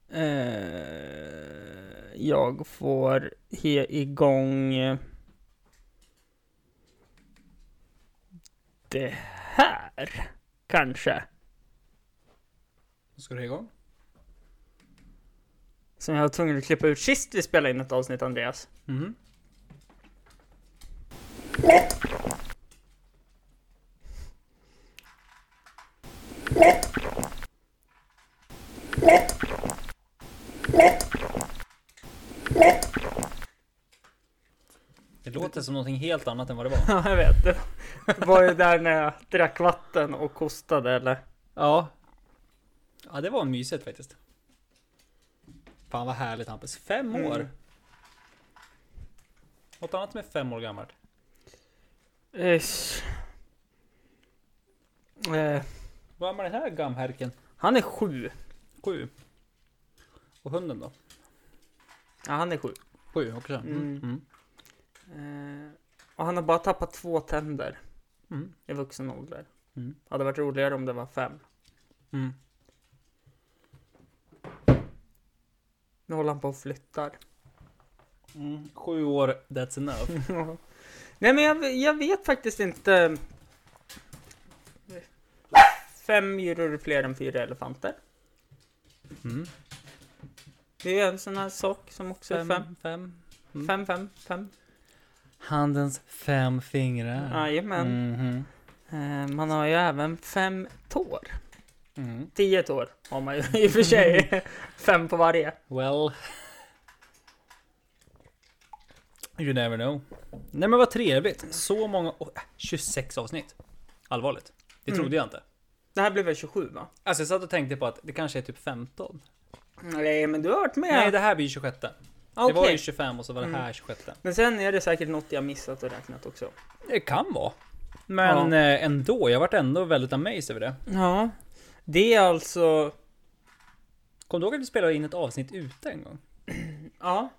eh, jag får he igång eh, det här kanske
Nu ska du ha igång.
som jag var tvungen att klippa ut sist vi spelade in ett avsnitt Andreas.
Mhm. Det låter som någonting helt annat än vad det var.
Ja, jag vet. Det var ju där när jag drack vatten och kostade eller?
Ja. Ja, det var mysigt faktiskt. Fan vad härligt Hampus. Fem
Mm.
år! Något annat som är fem år gammalt?
Ish. Eh,
Vad är med den här gamherken?
han är sju.
Sju. Och hunden då?
Ja, han är sju.
Sju också.
Mm.
Mm. Mm.
Eh, och han har bara tappat två tänder
Mm.
i vuxen ålder.
Mm.
Hade varit roligare om det var fem.
Mm.
Nu håller han på och flyttar.
(laughs) Mm. Sju år, that's enough.
Nej men jag, jag vet faktiskt inte. Fem myror är fler än fyra elefanter.
Mm.
Det är en sån här sak som också är fem.
fem. Mm.
Fem, fem, fem.
Handens fem fingrar.
Jajamän.
Mhm.
Eh, Man har ju även fem tår.
Mm.
Tio tår har man ju i och för (laughs) sig. Fem på varje.
Well. You never know. Nej men vad trevligt. Så många... åh, äh, 26 avsnitt. Allvarligt. Det
Mm.
trodde jag inte.
Det här blev väl 27 va?
Alltså jag satt och tänkte på att det kanske är typ 15.
Nej, men du har varit med. Ah,
Nej det här blir 26.
Okej.
Det var ju 25 och så var det här
Mm.
26.
Men sen är det säkert något jag missat och räknat också.
Det kan vara. Men eh, ändå, jag vart ändå väldigt amazed över det.
Ja. Det är alltså...
Kom du ihåg att vi spelade in ett avsnitt ute en gång?
Ja.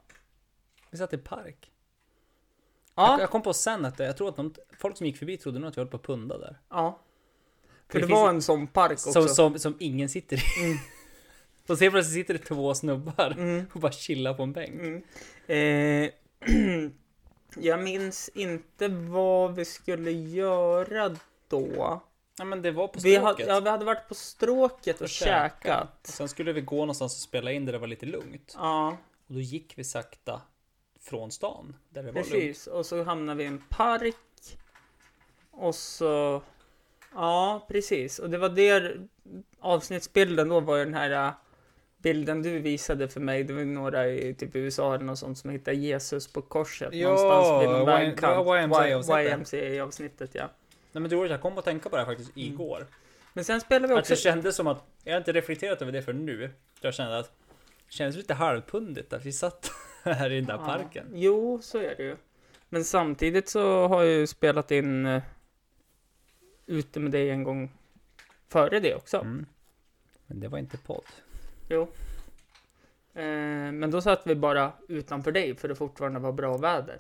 Vi satt i park. Jag,
Ja.
jag kom på sen att det- jag tror att de, folk som gick förbi trodde nog att jag höll på att punda där.
ja. För det,
Det finns-
var en sån park också.
Som, som, som ingen sitter i. (laughs)
Mm.
Och ser plötsligt sitter det två snubbar
Mm.
och bara chillar på en bänk.
Mm. Eh, (clears throat) jag minns inte vad vi skulle göra då.
Ja men det var på
Vi
stråket.
hade, ja, vi hade varit på stråket och,
Och käkat. Och
käkat.
sen skulle vi gå någonstans och spela in där det var lite lugnt.
Ja,
Och då gick vi sakta från stan. Där det var lugnt.
precis. Och så hamnade vi i en park. Och så... Ja, precis. Och det var där avsnittsbilden då var ju den här äh, bilden du visade för mig. Det var ju några i typ USA eller något sånt som hittade Jesus på korset
Ja,
någonstans vid
Y-
någon vägkant.
det var YMCA-avsnittet.
YMCA-avsnittet, ja.
Nej men du George, jag kom att tänka på det här faktiskt igår.
Men sen spelar vi
Att
också...
Mm. det kändes som att, jag har inte reflekterat över det för nu. Jag kände att det kändes lite halvpundigt att vi satt (laughs) här i den där
Ja.
parken.
Jo, så är det ju. Men samtidigt så har jag ju spelat in eh, ute med dig en gång före det också.
Mm. Men det var inte podd.
Eh, men då satt vi bara utanför dig för det fortfarande var bra väder.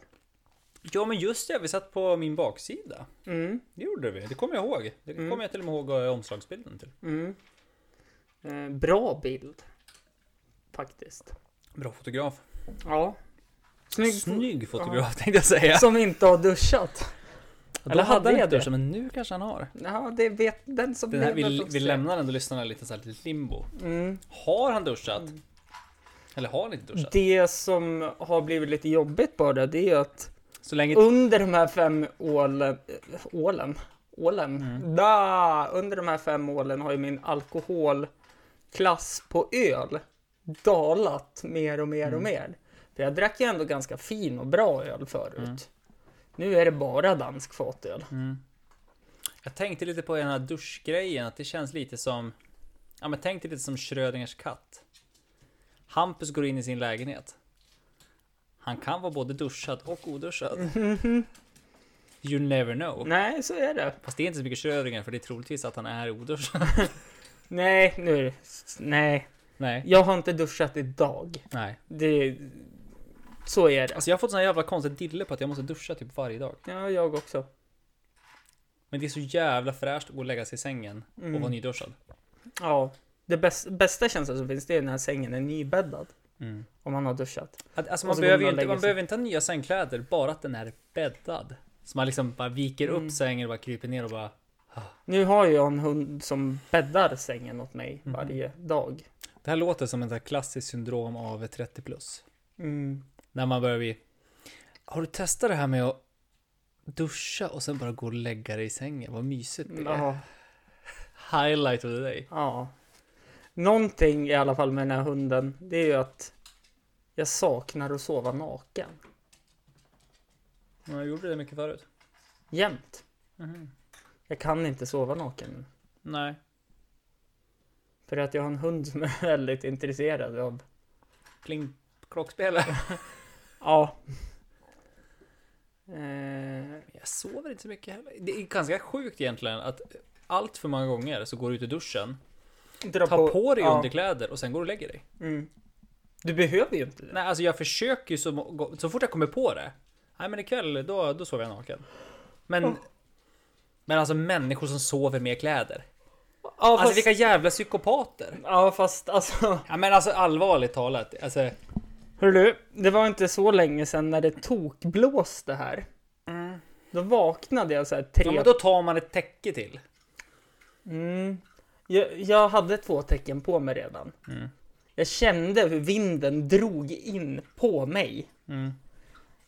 Ja men just det, vi satt på min baksida.
Mm,
Det gjorde vi, det kommer jag ihåg. Det
Mm.
kommer jag till och med ihåg eh, omslagsbilden till.
mm. Eh, bra bild. Faktiskt.
Bra fotograf.
Ja. Snygg.
Snygg fotograf tänkte jag säga.
Som inte har duschat.
Då
Eller hade
han
jag
inte
det?
duschat, men nu kanske han har.
Ja, det vet den som
Den här, vi,
lever får
vi
se.
lämnar ändå lyssnarna lite så här lite limbo.
Mm.
Har han duschat? Eller har han inte duschat?
Det som har blivit lite jobbigt bara det är ju att
Så länge...
Under de här fem ålen... eh, Ålen? Ålen? Da, under de här fem ålen har ju min alkoholklass på öl dalat mer och mer och mer. För jag drack ju ändå ganska fin och bra öl förut. Nu är det bara dansk fatöl.
Jag tänkte lite på den här duschgrejen, att det känns lite som... Ja men tänk dig lite som Schrödingers katt. Hampus går in i sin lägenhet. Han kan vara både duschad och oduschad. You never know.
Nej, så är det.
Fast det är inte så mycket Schrödinger för det är troligtvis att han är oduschad.
Nej, nu är det. (laughs) Nej,
Nej.
jag har inte duschat idag.
Nej.
Det... Så är det.
Alltså jag har fått sån här jävla konstig dille på att jag måste duscha typ varje dag.
Ja, jag också.
Men det är så jävla fräscht att gå och lägga sig i sängen och
Mm.
vara nyduschad.
Ja, det bäst, bästa känslan som finns det är när sängen är nybäddad.
Mm.
Om man har duschat.
Att, alltså
Och
man,
så går man
behöver ju
och
inte,
lägger
man
sig.
behöver inte ha nya sängkläder, bara att den är bäddad. Så man liksom bara viker
Mm.
upp sängen och bara kryper ner och bara...
Nu har ju jag en hund som bäddar sängen åt mig
Mhm.
varje dag.
Det här låter som ett klassiskt syndrom av 30 plus. När man börjar bli... Har du testat det här med att duscha och sen bara gå och lägga dig i sängen? Vad mysigt det är.
Ja,
Highlight of the day.
ja. Någonting i alla fall med den här hunden, det är ju att jag saknar att sova naken.
Jag gjorde det mycket förut. Mhm.
Jämt. Jag kan inte sova naken nu.
Nej.
För att jag har en hund som är (laughs) väldigt intresserad av...
Pling klockspelare.
Ja. Eh,
(laughs) Jag sover inte så mycket heller. Det är ganska sjukt egentligen att allt för många gånger så går du ut i duschen,
dra
tar på dig
ja,
underkläder och sen går du och lägger dig.
mm. Du behöver ju inte det.
Nej, alltså jag försöker ju så, må- så fort jag kommer på det. Nej, men ikväll då, då sover jag naken. Men, men alltså människor som sover med kläder.
Ja,
Alltså vilka jävla psykopater.
Ja fast alltså,
Ja, men alltså allvarligt talat. Alltså,
hörru, det var inte så länge sedan när det tokblåste här. Då vaknade jag så här tre...
Mm. ja, men då tar man ett täcke till.
mm. jag, jag hade två tecken på mig redan.
Mm.
Jag kände hur vinden drog in på
Mm.
mig.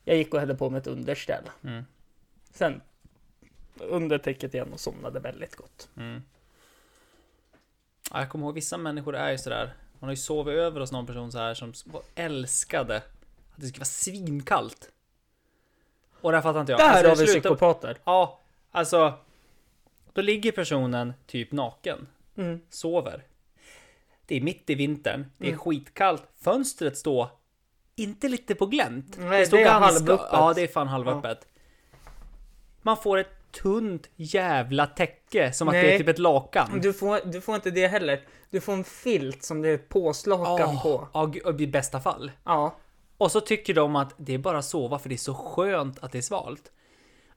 Jag gick och hade på mig ett underställ. Sen under täcket igen och somnade väldigt gott.
Mm. Ja, jag kommer ihåg vissa människor är ju sådär. Man har ju sovit över hos någon person så här som var älskade att det skulle vara svinkallt. Och det här fattar inte jag.
Där
Alltså, det
har vi
slutar-
psykopater.
Ja, alltså. Då ligger personen typ naken.
Mm.
sover. Det är mitt i vintern, det är skitkallt, fönstret står inte lite på glänt.
Nej, det är halvöppet.
Ja, det är fan halvöppet. Man får ett tunt jävla täcke som att det är
Nej.
typ ett lakan.
Du, får, du får inte det heller. Du får en filt som det är ett påslakan
Åh,
på.
ja, gud, I bästa fall.
Ja.
Och så tycker de att det är bara att sova för det är så skönt att det är svalt.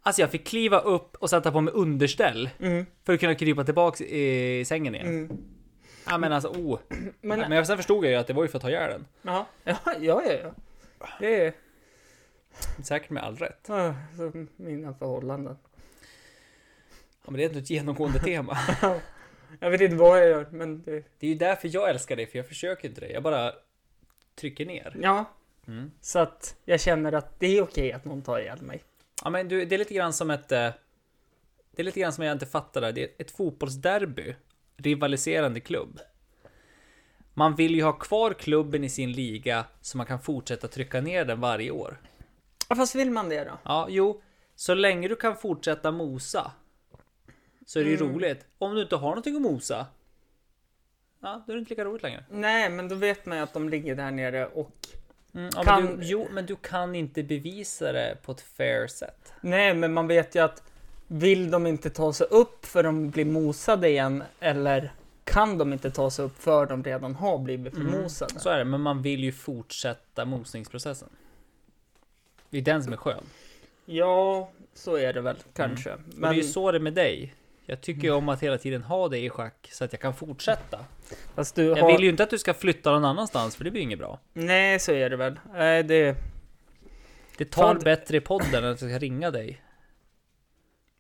Alltså jag fick kliva upp och sätta på mig underställ
Mm.
för att kunna krypa tillbaks i sängen igen. Ja men alltså, oh.
(clears throat) Men,
Men jag- sen förstod jag ju att det var ju för att ta ihjäl den.
ja. Ja, ja, ja, ja. Det är
Säkert med all rätt.
ah, så mina förhållanden.
Ja, men det är ändå ett genomgående (laughs) tema.
Jag vet inte vad jag gör, men det...
Det är ju därför jag älskar dig, för jag försöker inte det. Jag bara trycker ner.
Ja.
Mm.
Så att jag känner att det är okej att någon tar ihjäl mig.
Ja, men du, det är lite grann som ett... eh, Det är lite grann som jag inte fattar där. Det är ett fotbollsderby. Rivaliserande klubb. Man vill ju ha kvar klubben i sin liga så man kan fortsätta trycka ner den varje år.
Ja, Fast vill man det då?
Ja, jo. Så länge du kan fortsätta mosa så är det ju roligt. Om du inte har någonting att mosa, ja, då är det inte lika roligt längre.
Nej, men då vet man ju att de ligger där nere och...
Mm, ja, men
Kan-
du, jo, men du kan inte bevisa det på ett fair sätt.
Nej, men man vet ju att vill de inte ta sig upp för de blir mosade igen eller kan de inte ta sig upp för de redan har blivit förmosade?
Mm, Så är det, men man vill ju fortsätta mosningsprocessen. Det är den som är skön.
Ja, så är det väl kanske.
Mm. Men... Det är
Men
ju så det är med dig. Jag tycker ju om att hela tiden ha dig i schack så att jag kan fortsätta.
fast du
Jag
har...
vill ju inte att du ska flytta någon annanstans för det blir ju inget bra.
Nej, så är det väl. Nej, det...
Det tar
Fan.
bättre i podden än att jag ska ringa dig.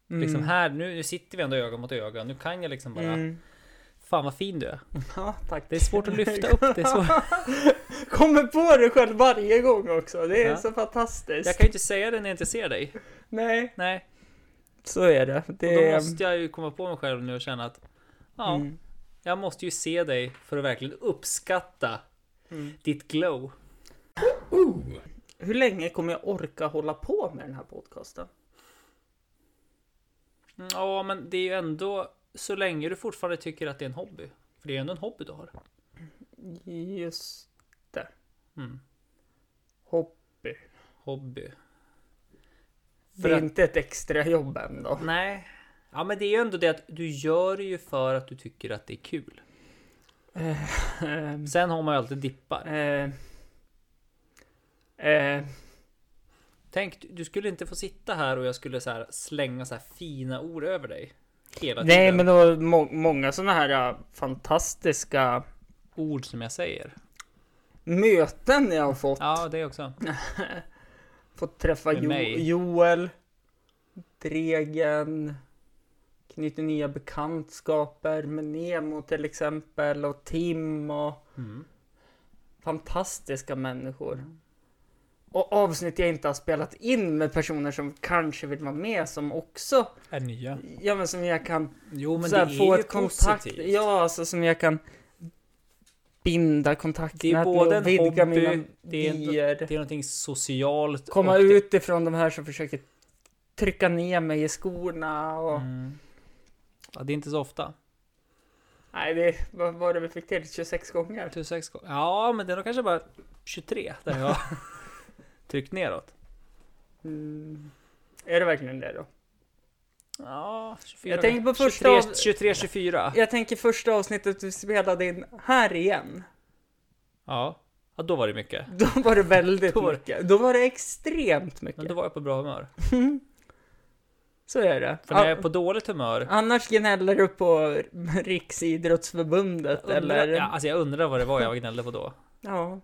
Mm.
Liksom här, nu sitter vi ändå öga mot öga. Nu kan jag liksom bara...
Mm.
Fan vad fin du är.
Ja, tack.
Det är svårt att lyfta upp. Det är
(laughs)
svårt.
Kommer på det själv varje gång också. Det är
Ja.
så fantastiskt.
Jag kan ju inte säga det när jag inte ser dig.
Nej,
Nej.
så är det.
Och då
det...
måste jag ju komma på mig själv nu och känna att ja,
Mm.
jag måste ju se dig för att verkligen uppskatta
Mm.
ditt glow.
Hur länge kommer jag orka hålla på med den här podcasten?
Mm, Ja, men det är ju ändå så länge du fortfarande tycker att det är en hobby. För det är ju ändå en hobby du har.
Just det.
Mm.
Hobby.
Hobby.
Det
För
är
att-
inte ett extra jobb ändå.
Nej. Ja, men det är ju ändå det att du gör det ju för att du tycker att det är kul.
Mm. (laughs) Ehm,
Sen har man ju alltid dippar.
ehm, ehm,
Tänk, du skulle inte få sitta här och jag skulle så här slänga så här fina ord över dig. Hela tiden.
nej, men det var må många sådana här ja, fantastiska
Ord som jag säger.
möten jag har fått.
Ja, det också.
Fått träffa
Med
jo
mig.
Joel, Dregen, knyter nya bekantskaper med Nemo till exempel och Tim och
Mm.
fantastiska människor. Och avsnitt jag inte har spelat in med personer som kanske vill vara med som också,
Är nya.
ja men som jag kan
Jo men
så här,
det
få
är ju
ett kontakt,
positivt.
ja alltså som jag kan binda kontakt
Det är
med
både en
och vidga
hobby,
mina
det är en-
vyer.
Det är någonting socialt.
Komma
och det-
ut ifrån de här som försöker trycka ner mig i skorna och...
Mm. Ja, det är inte så ofta.
Nej, det, vad var det vi fick till? 26 gånger?
26 gånger. Ja men det är nog kanske bara 23 där jag (laughs) har tryckt neråt.
Mm. Är det verkligen det då?
Ja, 24.
Jag tänker på första
23,
av-
23, 24.
Jag tänker första avsnittet vi spelade in här igen.
Ja. ja, då var det mycket.
Då var det väldigt
(laughs) Då var det-
mycket. Då var det extremt mycket.
Men då var jag på bra humör.
Så är det.
För när
Ja,
jag är på dåligt humör.
Annars gnäller du på Riksidrottsförbundet
Undrar,
eller...
ja, alltså jag undrar vad det var jag gnällde på då.
ja.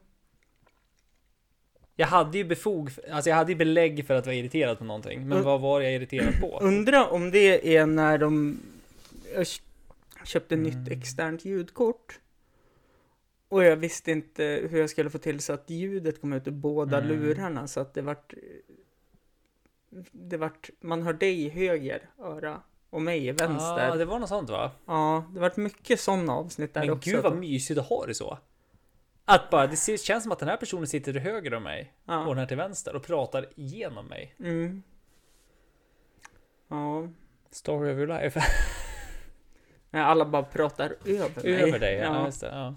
Jag hade ju befog, alltså jag hade ju belägg för att vara irriterad på någonting. Men
Mm.
vad var jag irriterad på?
Undra om det är när de ös- köpte nytt
Mm.
externt ljudkort. Och jag visste inte hur jag skulle få till så att ljudet kom ut ur båda
Mm.
lurarna så att det vart eh, det vart, man hör dig i höger öra och mig i vänster.
Ja, Ah, det var något sånt va?
Ja, det vart mycket sådana avsnitt där
Men
också.
gud vad mysigt att ha det så. Att bara, det ser- känns som att den här personen sitter till höger om mig och
ja.
den här till vänster och pratar igenom mig.
Mm. ja.
Story of your life.
Nej, alla bara pratar över mig.
(laughs) Över dig, ja. ja.
Ja.
Just det, ja.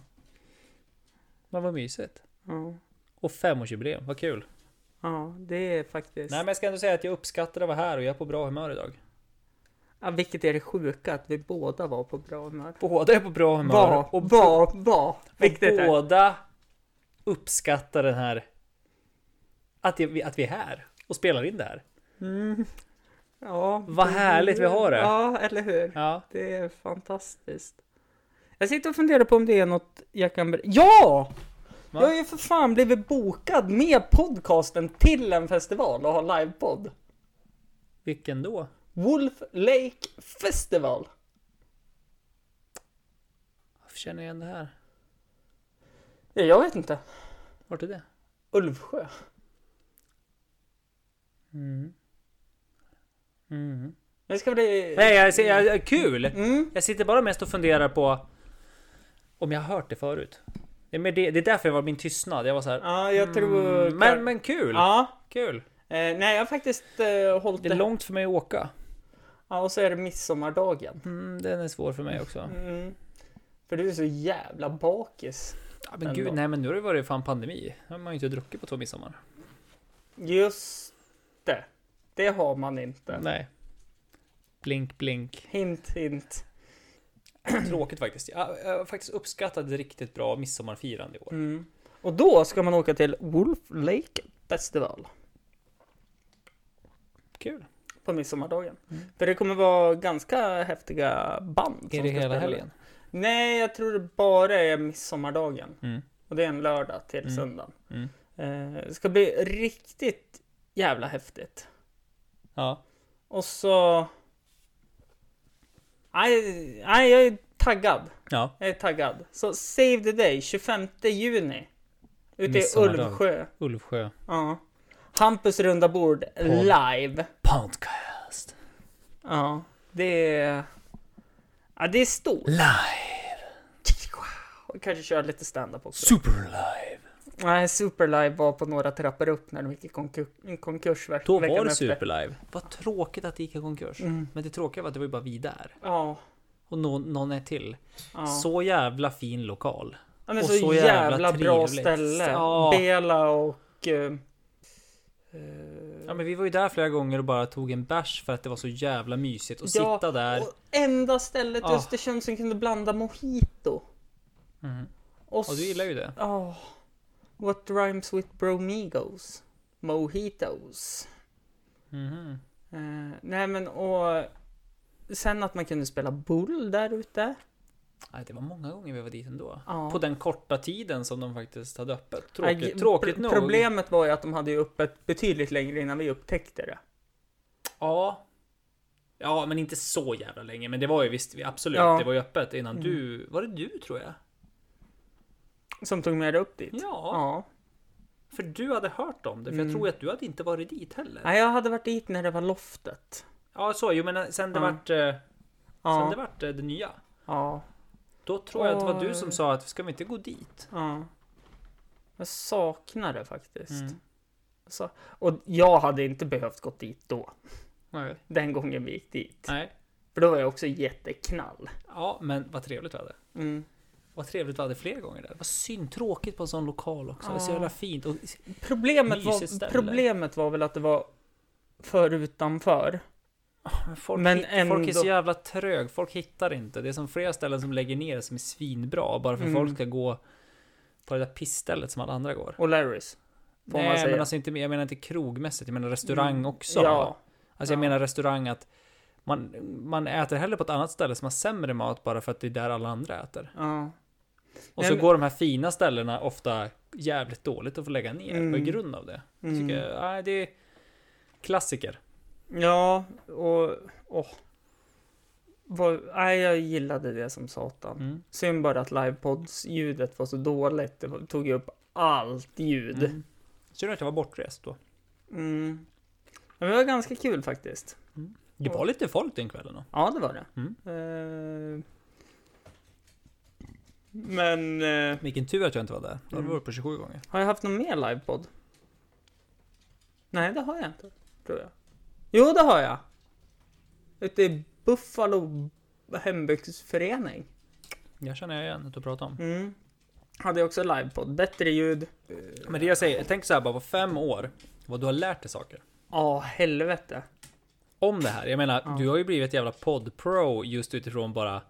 Men vad mysigt.
Ja,
Och femårsjubileum, vad kul.
ja det är faktiskt...
Nej men jag ska ändå säga att jag uppskattar att vara här och jag är på bra humör idag.
Ja, vilket är det sjuka, att vi båda var på bra humör.
Båda är på bra humör.
Var,
och
var, var. Viktigt
och
är.
båda uppskattar den här... Att, det, att vi är här och spelar in det här.
Ja,
Vad härligt vi har det.
Ja, eller hur?
Ja.
Det är fantastiskt. Jag sitter och funderar på om det är något jag kan... ber- Ja!
Va?
Jag har ju för fan blivit bokad med podcasten till en festival och har livepodd.
Vilken då?
Wolf Lake Festival.
Varför känner jag igen det här?
Ja, jag vet inte.
Vart är det?
Ulvsjö.
Mm. Mm.
Det ska bli...
Nej, jag, ser- jag, jag, kul!
Mm.
Jag sitter bara mest och funderar på om jag har hört det förut. Det är, mer det, det är därför jag var min tystnad. Jag var så här.
Ja, jag tror...
Mm, men, men kul!
Ja.
Kul!
Eh, nej, jag har faktiskt eh, hållit
Det
det.
är långt för mig att åka.
Ja, och så är det midsommardagen.
Mm, den är svår för mig också.
Mm. För du är så jävla bakis.
Ja, men gud,
Ändå.
nej men nu har det varit fan pandemi. Nu har man ju inte druckit på två midsommar.
Just det. Det har man inte.
Nej. Blink (clears throat) blink.
Hint, hint.
Tråkigt faktiskt. Jag, jag har faktiskt uppskattat ett riktigt bra midsommarfirande i år.
Och då ska man åka till Wolf Lake Festival
Kul.
på midsommardagen. För det kommer vara ganska häftiga band. som
Mm. Är det
ska
hela
spela.
helgen?
Nej, jag tror det bara är midsommardagen.
Mm.
Och det är en lördag till
Mm.
söndag.
Mm.
Eh, det ska bli riktigt jävla häftigt.
Ja.
Och så... Nej, nej, jag är taggad.
Ja.
Jag är taggad. Så save the day, 25 juni. Ute i
Midsommardag.
Ulvsjö.
Ulvsjö.
Ja. Hampus runda bord live.
Podcast.
Ja. Det är... Ja, det är stort.
Live.
Och kanske köra lite stand-up också.
Super live.
Nej, Superlive var på några trappor upp när de gick i konkur- konkurs veck-
Då
veckan
var det
efter.
superlive. Vad tråkigt att det gick i konkurs.
Mm.
Men det tråkiga var att det var ju bara vi där.
Ja.
Och någon, någon är till.
ja.
Så jävla fin lokal.
Ja, men
Och
så,
så
jävla,
jävla
bra
trevligt.
ställe.
Ja.
Bela och... eh, eh,
Ja men vi var ju där flera gånger och bara tog en bärs för att det var så jävla mysigt att
Ja,
sitta där.
och enda stället i
Ah.
Östersund som kunde blanda mojito.
Mhm.
Och
Och du gillar ju det.
Ja. What rhymes with bromigos? Mojitos.
Mhm.
Eh, nej men och... Sen att man kunde spela bull där ute.
Nej, det var många gånger vi var dit ändå.
Ja.
På den korta tiden som de faktiskt hade öppet. Tråkigt,
Nej,
tråkigt
pro-
nog.
Problemet var ju att de hade ju öppet betydligt längre innan vi upptäckte det.
Ja. Ja, men inte så jävla länge. Men det var ju visst, absolut.
Ja. Mm.
Det var ju öppet innan du... Var det du tror jag?
Som tog med det upp dit.
Ja,
ja.
för du hade hört om det. För jag tror ju att du hade inte varit dit heller.
Nej, jag hade varit dit när det var loftet.
Ja, så. Jo, men sen det
Ja.
vart... eh,
Ja,
Sen det vart eh, det nya.
ja,
Då tror jag att det var
Oj.
du som sa att ska vi inte gå dit?
ja. Jag saknar det faktiskt.
Mm.
Så, och jag hade inte behövt gått dit då.
Nej.
Den gången vi gick dit.
Nej.
För då var jag också jätteknall.
Ja, men vad trevligt vi hade.
Mm.
Vad trevligt vi hade fler gånger där. Vad synd, tråkigt på en sån lokal också. Det är så
Ja.
jävla fint. Och
Problemet,
Mysigt
var,
ställe.
problemet var väl att det var för utanför.
Men folk,
Men
hitt, folk är
ändå-
så jävla trög, folk hittar inte. Det är som flera ställen som lägger ner som är svinbra bara för att
Mm.
folk ska gå på det där pissstället som alla andra går.
Och Larrys. Får man
Nej,
säga.
men alltså inte, jag menar inte krogmässigt, jag menar restaurang
Mm.
också.
Ja.
Alltså jag
Ja.
menar restaurang att man, man äter hellre på ett annat ställe som har sämre mat bara för att det är där alla andra äter.
ja.
Och
Nej,
så
men-
går de här fina ställena ofta jävligt dåligt att få lägga ner på
Mm.
grund av det.
Mm.
Tycker jag, nej, det är klassiker.
Ja, och... Åh. Vad, nej, jag gillade det som satan.
Mm.
Synd bara att livepods-ljudet var så dåligt. Det var- tog ju upp allt ljud.
Mm. Synd att jag var bortrest då.
Mm. Men det var ganska kul faktiskt.
Det var lite folk den kvällen då.
Ja, det var det.
Mm.
Eh, men eh,
Vilken tur att jag inte var där. Då hade
Mm.
vi varit på 27 gånger.
har jag haft någon mer livepodd? Nej, det har jag inte. Tror jag. Jo, det har jag. Ute i Buffalo hembygdsförening.
Jag känner jag igen att du pratar om.
Mm. Hade jag också livepodd. Bättre ljud.
Men det jag säger, tänk så här bara på fem år, vad du har lärt dig saker.
Ja, helvete.
Om det här. Jag menar,
Ja.
du har ju blivit ett jävla podd-pro just utifrån bara...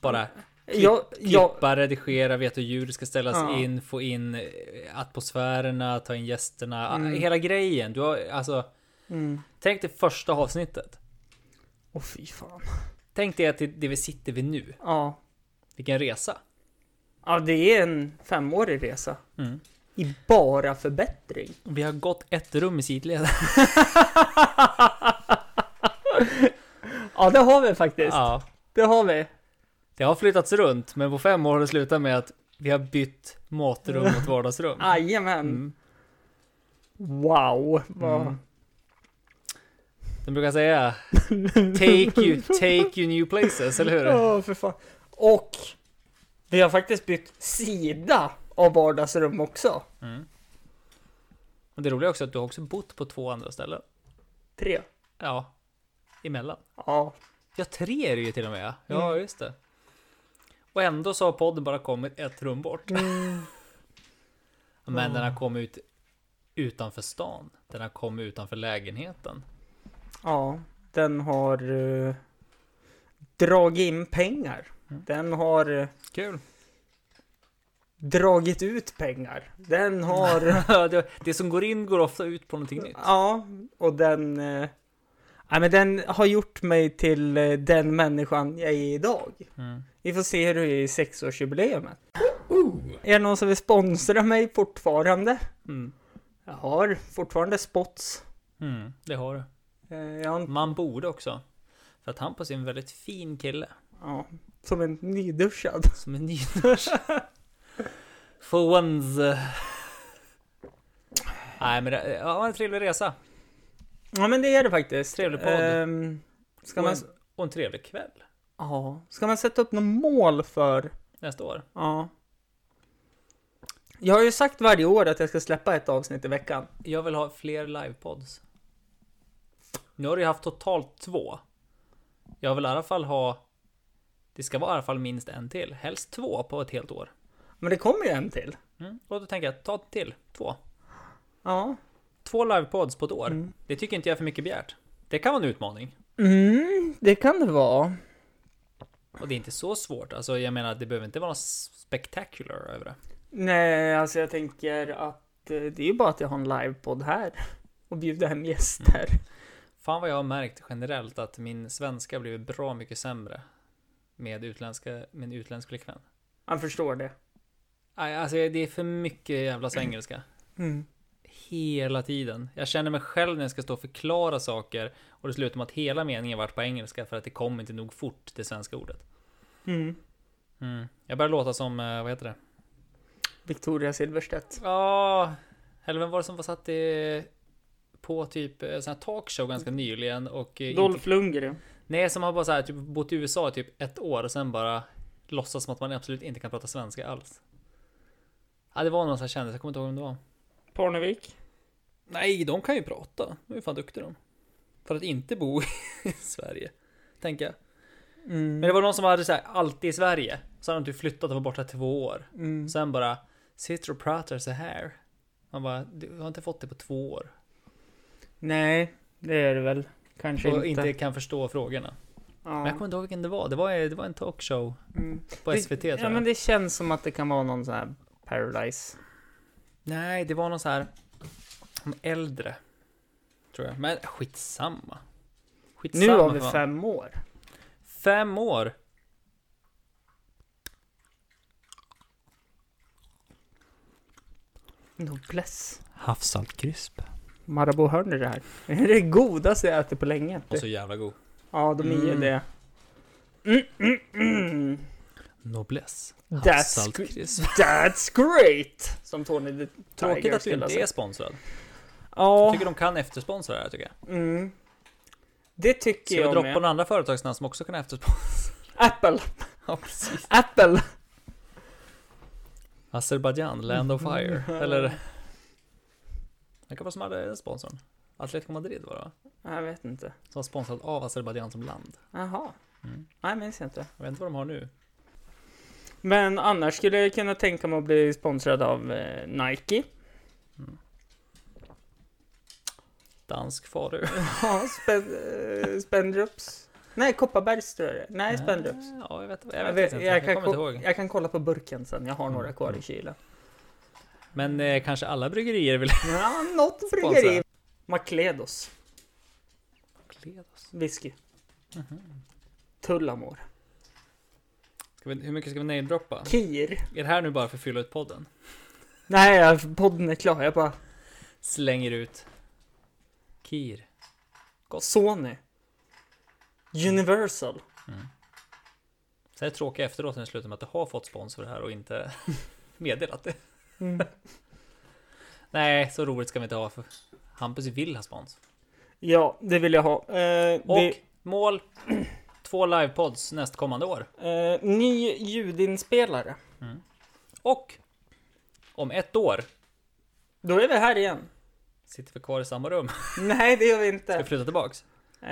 Bara
Jag, jag,
klippa, redigera, veta hur ljud ska ställas
Ja.
in, få in eh, atmosfärerna, ta in gästerna.
Mm.
Hela grejen. Du har, alltså,
mm.
tänk det första avsnittet.
Åh fy fan.
Tänk dig att det, det vi sitter vid nu.
Ja.
Vilken resa.
ja, det är en femårig resa.
Mm.
I bara förbättring.
Vi har gått ett rum i sidled.
Ja, det har vi faktiskt.
(laughs) Ja.
Det har vi.
Det har flyttats runt, men på fem år har det slutat med att vi har bytt
(laughs)
matrum mot vardagsrum.
Jajamän.
Mm.
Wow. Vad...
Mm. De brukar säga take you, take you new places, eller hur?
Ja, för fan. Och vi har faktiskt bytt sida av vardagsrum också.
Och det roliga är också att du har också bott på två andra ställen.
Tre.
Ja, emellan.
Ja.
Ja, tre är det ju till och med. Ja,
Mm.
just det. Och ändå så har podden bara kommit ett rum bort.
Mm.
(laughs) Men den har kommit ut utanför stan. Den har kommit utanför lägenheten.
Ja, den har eh, dragit in pengar.
Mm.
Den har eh,
(laughs) Kul.
dragit ut pengar. Den har...
det, det som går in går ofta ut på någonting nytt.
Ja, och den... Eh, nej, men den har gjort mig till eh, den människan jag är idag.
Mm.
Vi får se hur det är i sexårsjubileumet. Är det någon som vill sponsra mig fortfarande?
Mm.
Jag har fortfarande spots.
Mm, det har du.
Eh, jag har en,
Man borde också. För att Hampus är en väldigt fin kille.
ja, som en nyduschad.
Som är nyduschad.
(laughs)
For once.
eh,
Nej men det ja, en trevlig resa.
Ja, men det är det faktiskt.
Trevlig podd.
Ehm, ska,
och,
man,
en, och en trevlig kväll
ja, ska man sätta upp något mål för...
nästa år.
Ja. Jag har ju sagt varje år att jag ska släppa ett avsnitt i veckan.
Jag vill ha fler livepods. Nu har du ju haft totalt två. Jag vill i alla fall ha... Det ska vara i alla fall minst en till. Helst två på ett helt år.
Men det kommer ju en till.
Mm. Och då tänker jag, ta till två.
Ja.
Två livepods på ett år.
Mm.
Det tycker inte jag är för mycket begärt. Det kan vara en utmaning.
Mm, det kan det vara.
Och det är inte så svårt. Alltså jag menar, det behöver inte vara något spectacular över det.
Nej, alltså jag tänker att eh, det är ju bara att jag har en livepodd här (laughs) och bjuder hem gäster.
Fan vad jag har märkt generellt att min svenska har blivit bra mycket sämre. Med utländska, min utländsk flickvän.
Jag förstår det.
Nej, Alltså det är för mycket jävla svengelska.
Mm.
Hela tiden. Jag känner mig själv när jag ska stå och förklara saker och det slutar med att hela meningen vart på engelska för att det kom inte nog fort, det svenska ordet.
Mm.
Mm. Jag börjar låta som, eh, vad heter det?
Victoria Silvstedt.
Ja, eller vem var det som var satt i, på typ eh, sån här talkshow ganska nyligen och... eh,
Dolph Lundgren.
Nej, som har bara så här, typ, bott i USA i typ ett år och sen bara låtsas som att man absolut inte kan prata svenska alls. Ja, det var någon som jag kände, jag kommer inte ihåg vem det var.
Parnevik.
Nej, de kan ju prata. De är ju fan duktiga de. För att inte bo i (laughs) Sverige, tänker jag.
Mm,
Men det var någon som hade så här, alltid i Sverige. Så hade de typ flyttat och var borta två år.
Mm.
Sen bara, sitter och pratar så här. Man bara, du har inte fått det på två år.
Nej, det är det väl. Kanske
Och
inte.
inte kan förstå frågorna. Men jag
Ja.
kommer inte ihåg vilken det var. Det var, det var en talkshow
Mm.
på SVT
det,
tror
ja,
jag.
men det känns som att det kan vara någon sån här Paradise.
Nej, det var någon så här om äldre. Tror jag. Men skitsamma.
Nu
skitsamma
har vi
fan.
fem år.
Fem år.
Nobless.
Havssaltkrisp.
Marabou hörni det här. (laughs) Det är det godaste jag ätit på länge.
Och så jävla god.
Ja, de är
Mm.
det. Mm, mm, mm.
Noblesse.
That's
Havssaltkrisp.
That's great! Som Tony the Tiger
Tråkigt att du
skulle ha
inte är
sagt.
sponsrad. Jag
Ja,
tycker de kan eftersponsra det här tycker jag.
mm. det tycker
Ska vi
jag
droppa
med.
några andra företagsnamn som också kan eftersponsra? (laughs)
Apple,
Ja, precis.
Apple.
Azerbaijan, Land
(laughs)
of Fire. Eller... Vilka var det som hade den sponsorn? Atletico Madrid var det va?
Nej, Jag vet inte.
Som var sponsrat av Azerbaijan som land.
Jaha.
Mm.
Nej, minns jag inte.
Jag vet inte vad de har nu.
Men annars skulle jag kunna tänka mig att bli sponsrad av eh, Nike.
Dansk faru.
Ja, spen, eh, Spendrups. Nej, Kopparbergs tror jag det är. Nej, Spendrups.
(laughs) Ja, jag vet, jag vet,
Jag, vet,
faktiskt inte.
jag,
Jag,
kan
kommer inte
ko-
ihåg.
jag kan kolla på burken sen. Jag har några kvar i kylen.
Men eh, kanske alla bryggerier vill...
Ja, något bryggeri.
Mm. Sponsra.
Macledos
Kledos.
whisky.
Mhm.
Tullamore.
Ska vi, hur mycket ska vi namedroppa?
Kir.
Är det här nu bara för att fylla ut podden?
Nej, jag- podden är klar. Jag bara...
Slänger ut... Kir.
Sony. Universal.
Sen är det tråkiga efteråt när det slutar med att det har fått sponsor här och inte (laughs) meddelat det.
Mm.
Nej, så roligt ska vi inte ha. För Hampus vill ha spons.
(laughs) Ja, det vill jag ha. Eh,
Och
det,
mål. (clears throat) Två livepods nästkommande år.
eh, ny ljudinspelare.
Och om ett år
Då är vi här igen.
sitter vi kvar i samma rum.
Nej, det gör vi
Ska
inte.
vi flytta tillbaks?
Eh,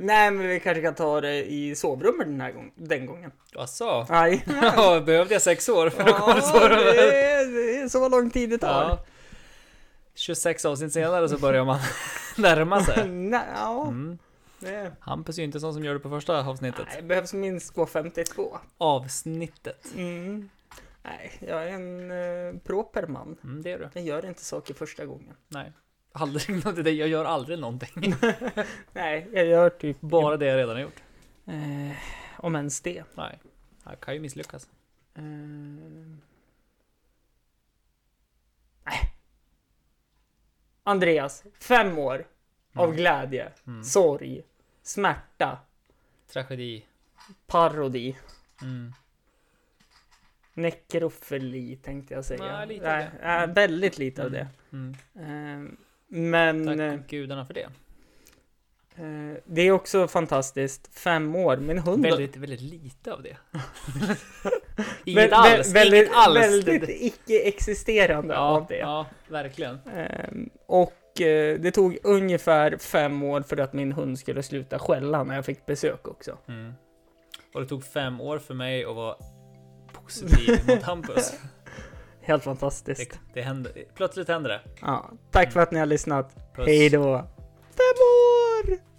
nej, men vi kanske kan ta det i sovrummet den här gången. Den gången.
Jaså?
Nej.
Ja, behövde jag sex år för att komma till
(laughs) Ja,
sovrummet?
det, är, det är så lång tid det tar.
Ja. 26 avsnitt senare så börjar man (laughs) närma
(laughs)
sig.
Nej, ja.
Mm.
Det,
Hampus är ju inte sån som gör det på första avsnittet.
nej, det behövs minst 2,52.
Avsnittet.
Mm. Nej, jag är en eh, proper man.
Mm, det är du.
Jag gör inte saker första gången.
Nej. Aldrig, (laughs) nå- det- jag gör aldrig någonting.
Nej, jag gör typ
Bara det jag redan har gjort.
eh, om ens det.
Nej. Jag kan ju misslyckas.
Eh, nej. Andreas, fem år
Mm.
av glädje, sorg, smärta,
Tragedi.
parodi.
Mm.
Nekrofili tänkte jag säga.
Nej, lite av
nej, nej, väldigt lite av det.
Mm.
Eh, Men
Tack
eh,
gudarna för det.
eh, det är också fantastiskt. Fem år, min hund har-
Väldigt, väldigt
(laughs)
lite av det. (laughs)
Vä-
Inget
vä-
alls.
Väldigt,
Inget alls.
väldigt icke-existerande
ja,
av det.
ja, verkligen.
Ehm, Och eh, det tog ungefär fem år för att min hund skulle sluta skälla när jag fick besök också.
Mm. Och det tog fem år för mig att vara positiv mot Hampus.
Helt
Det,
fantastiskt.
det händer. Plötsligt händer det.
Ja, tack för att ni har lyssnat.
Puss.
Hej då! Fem år!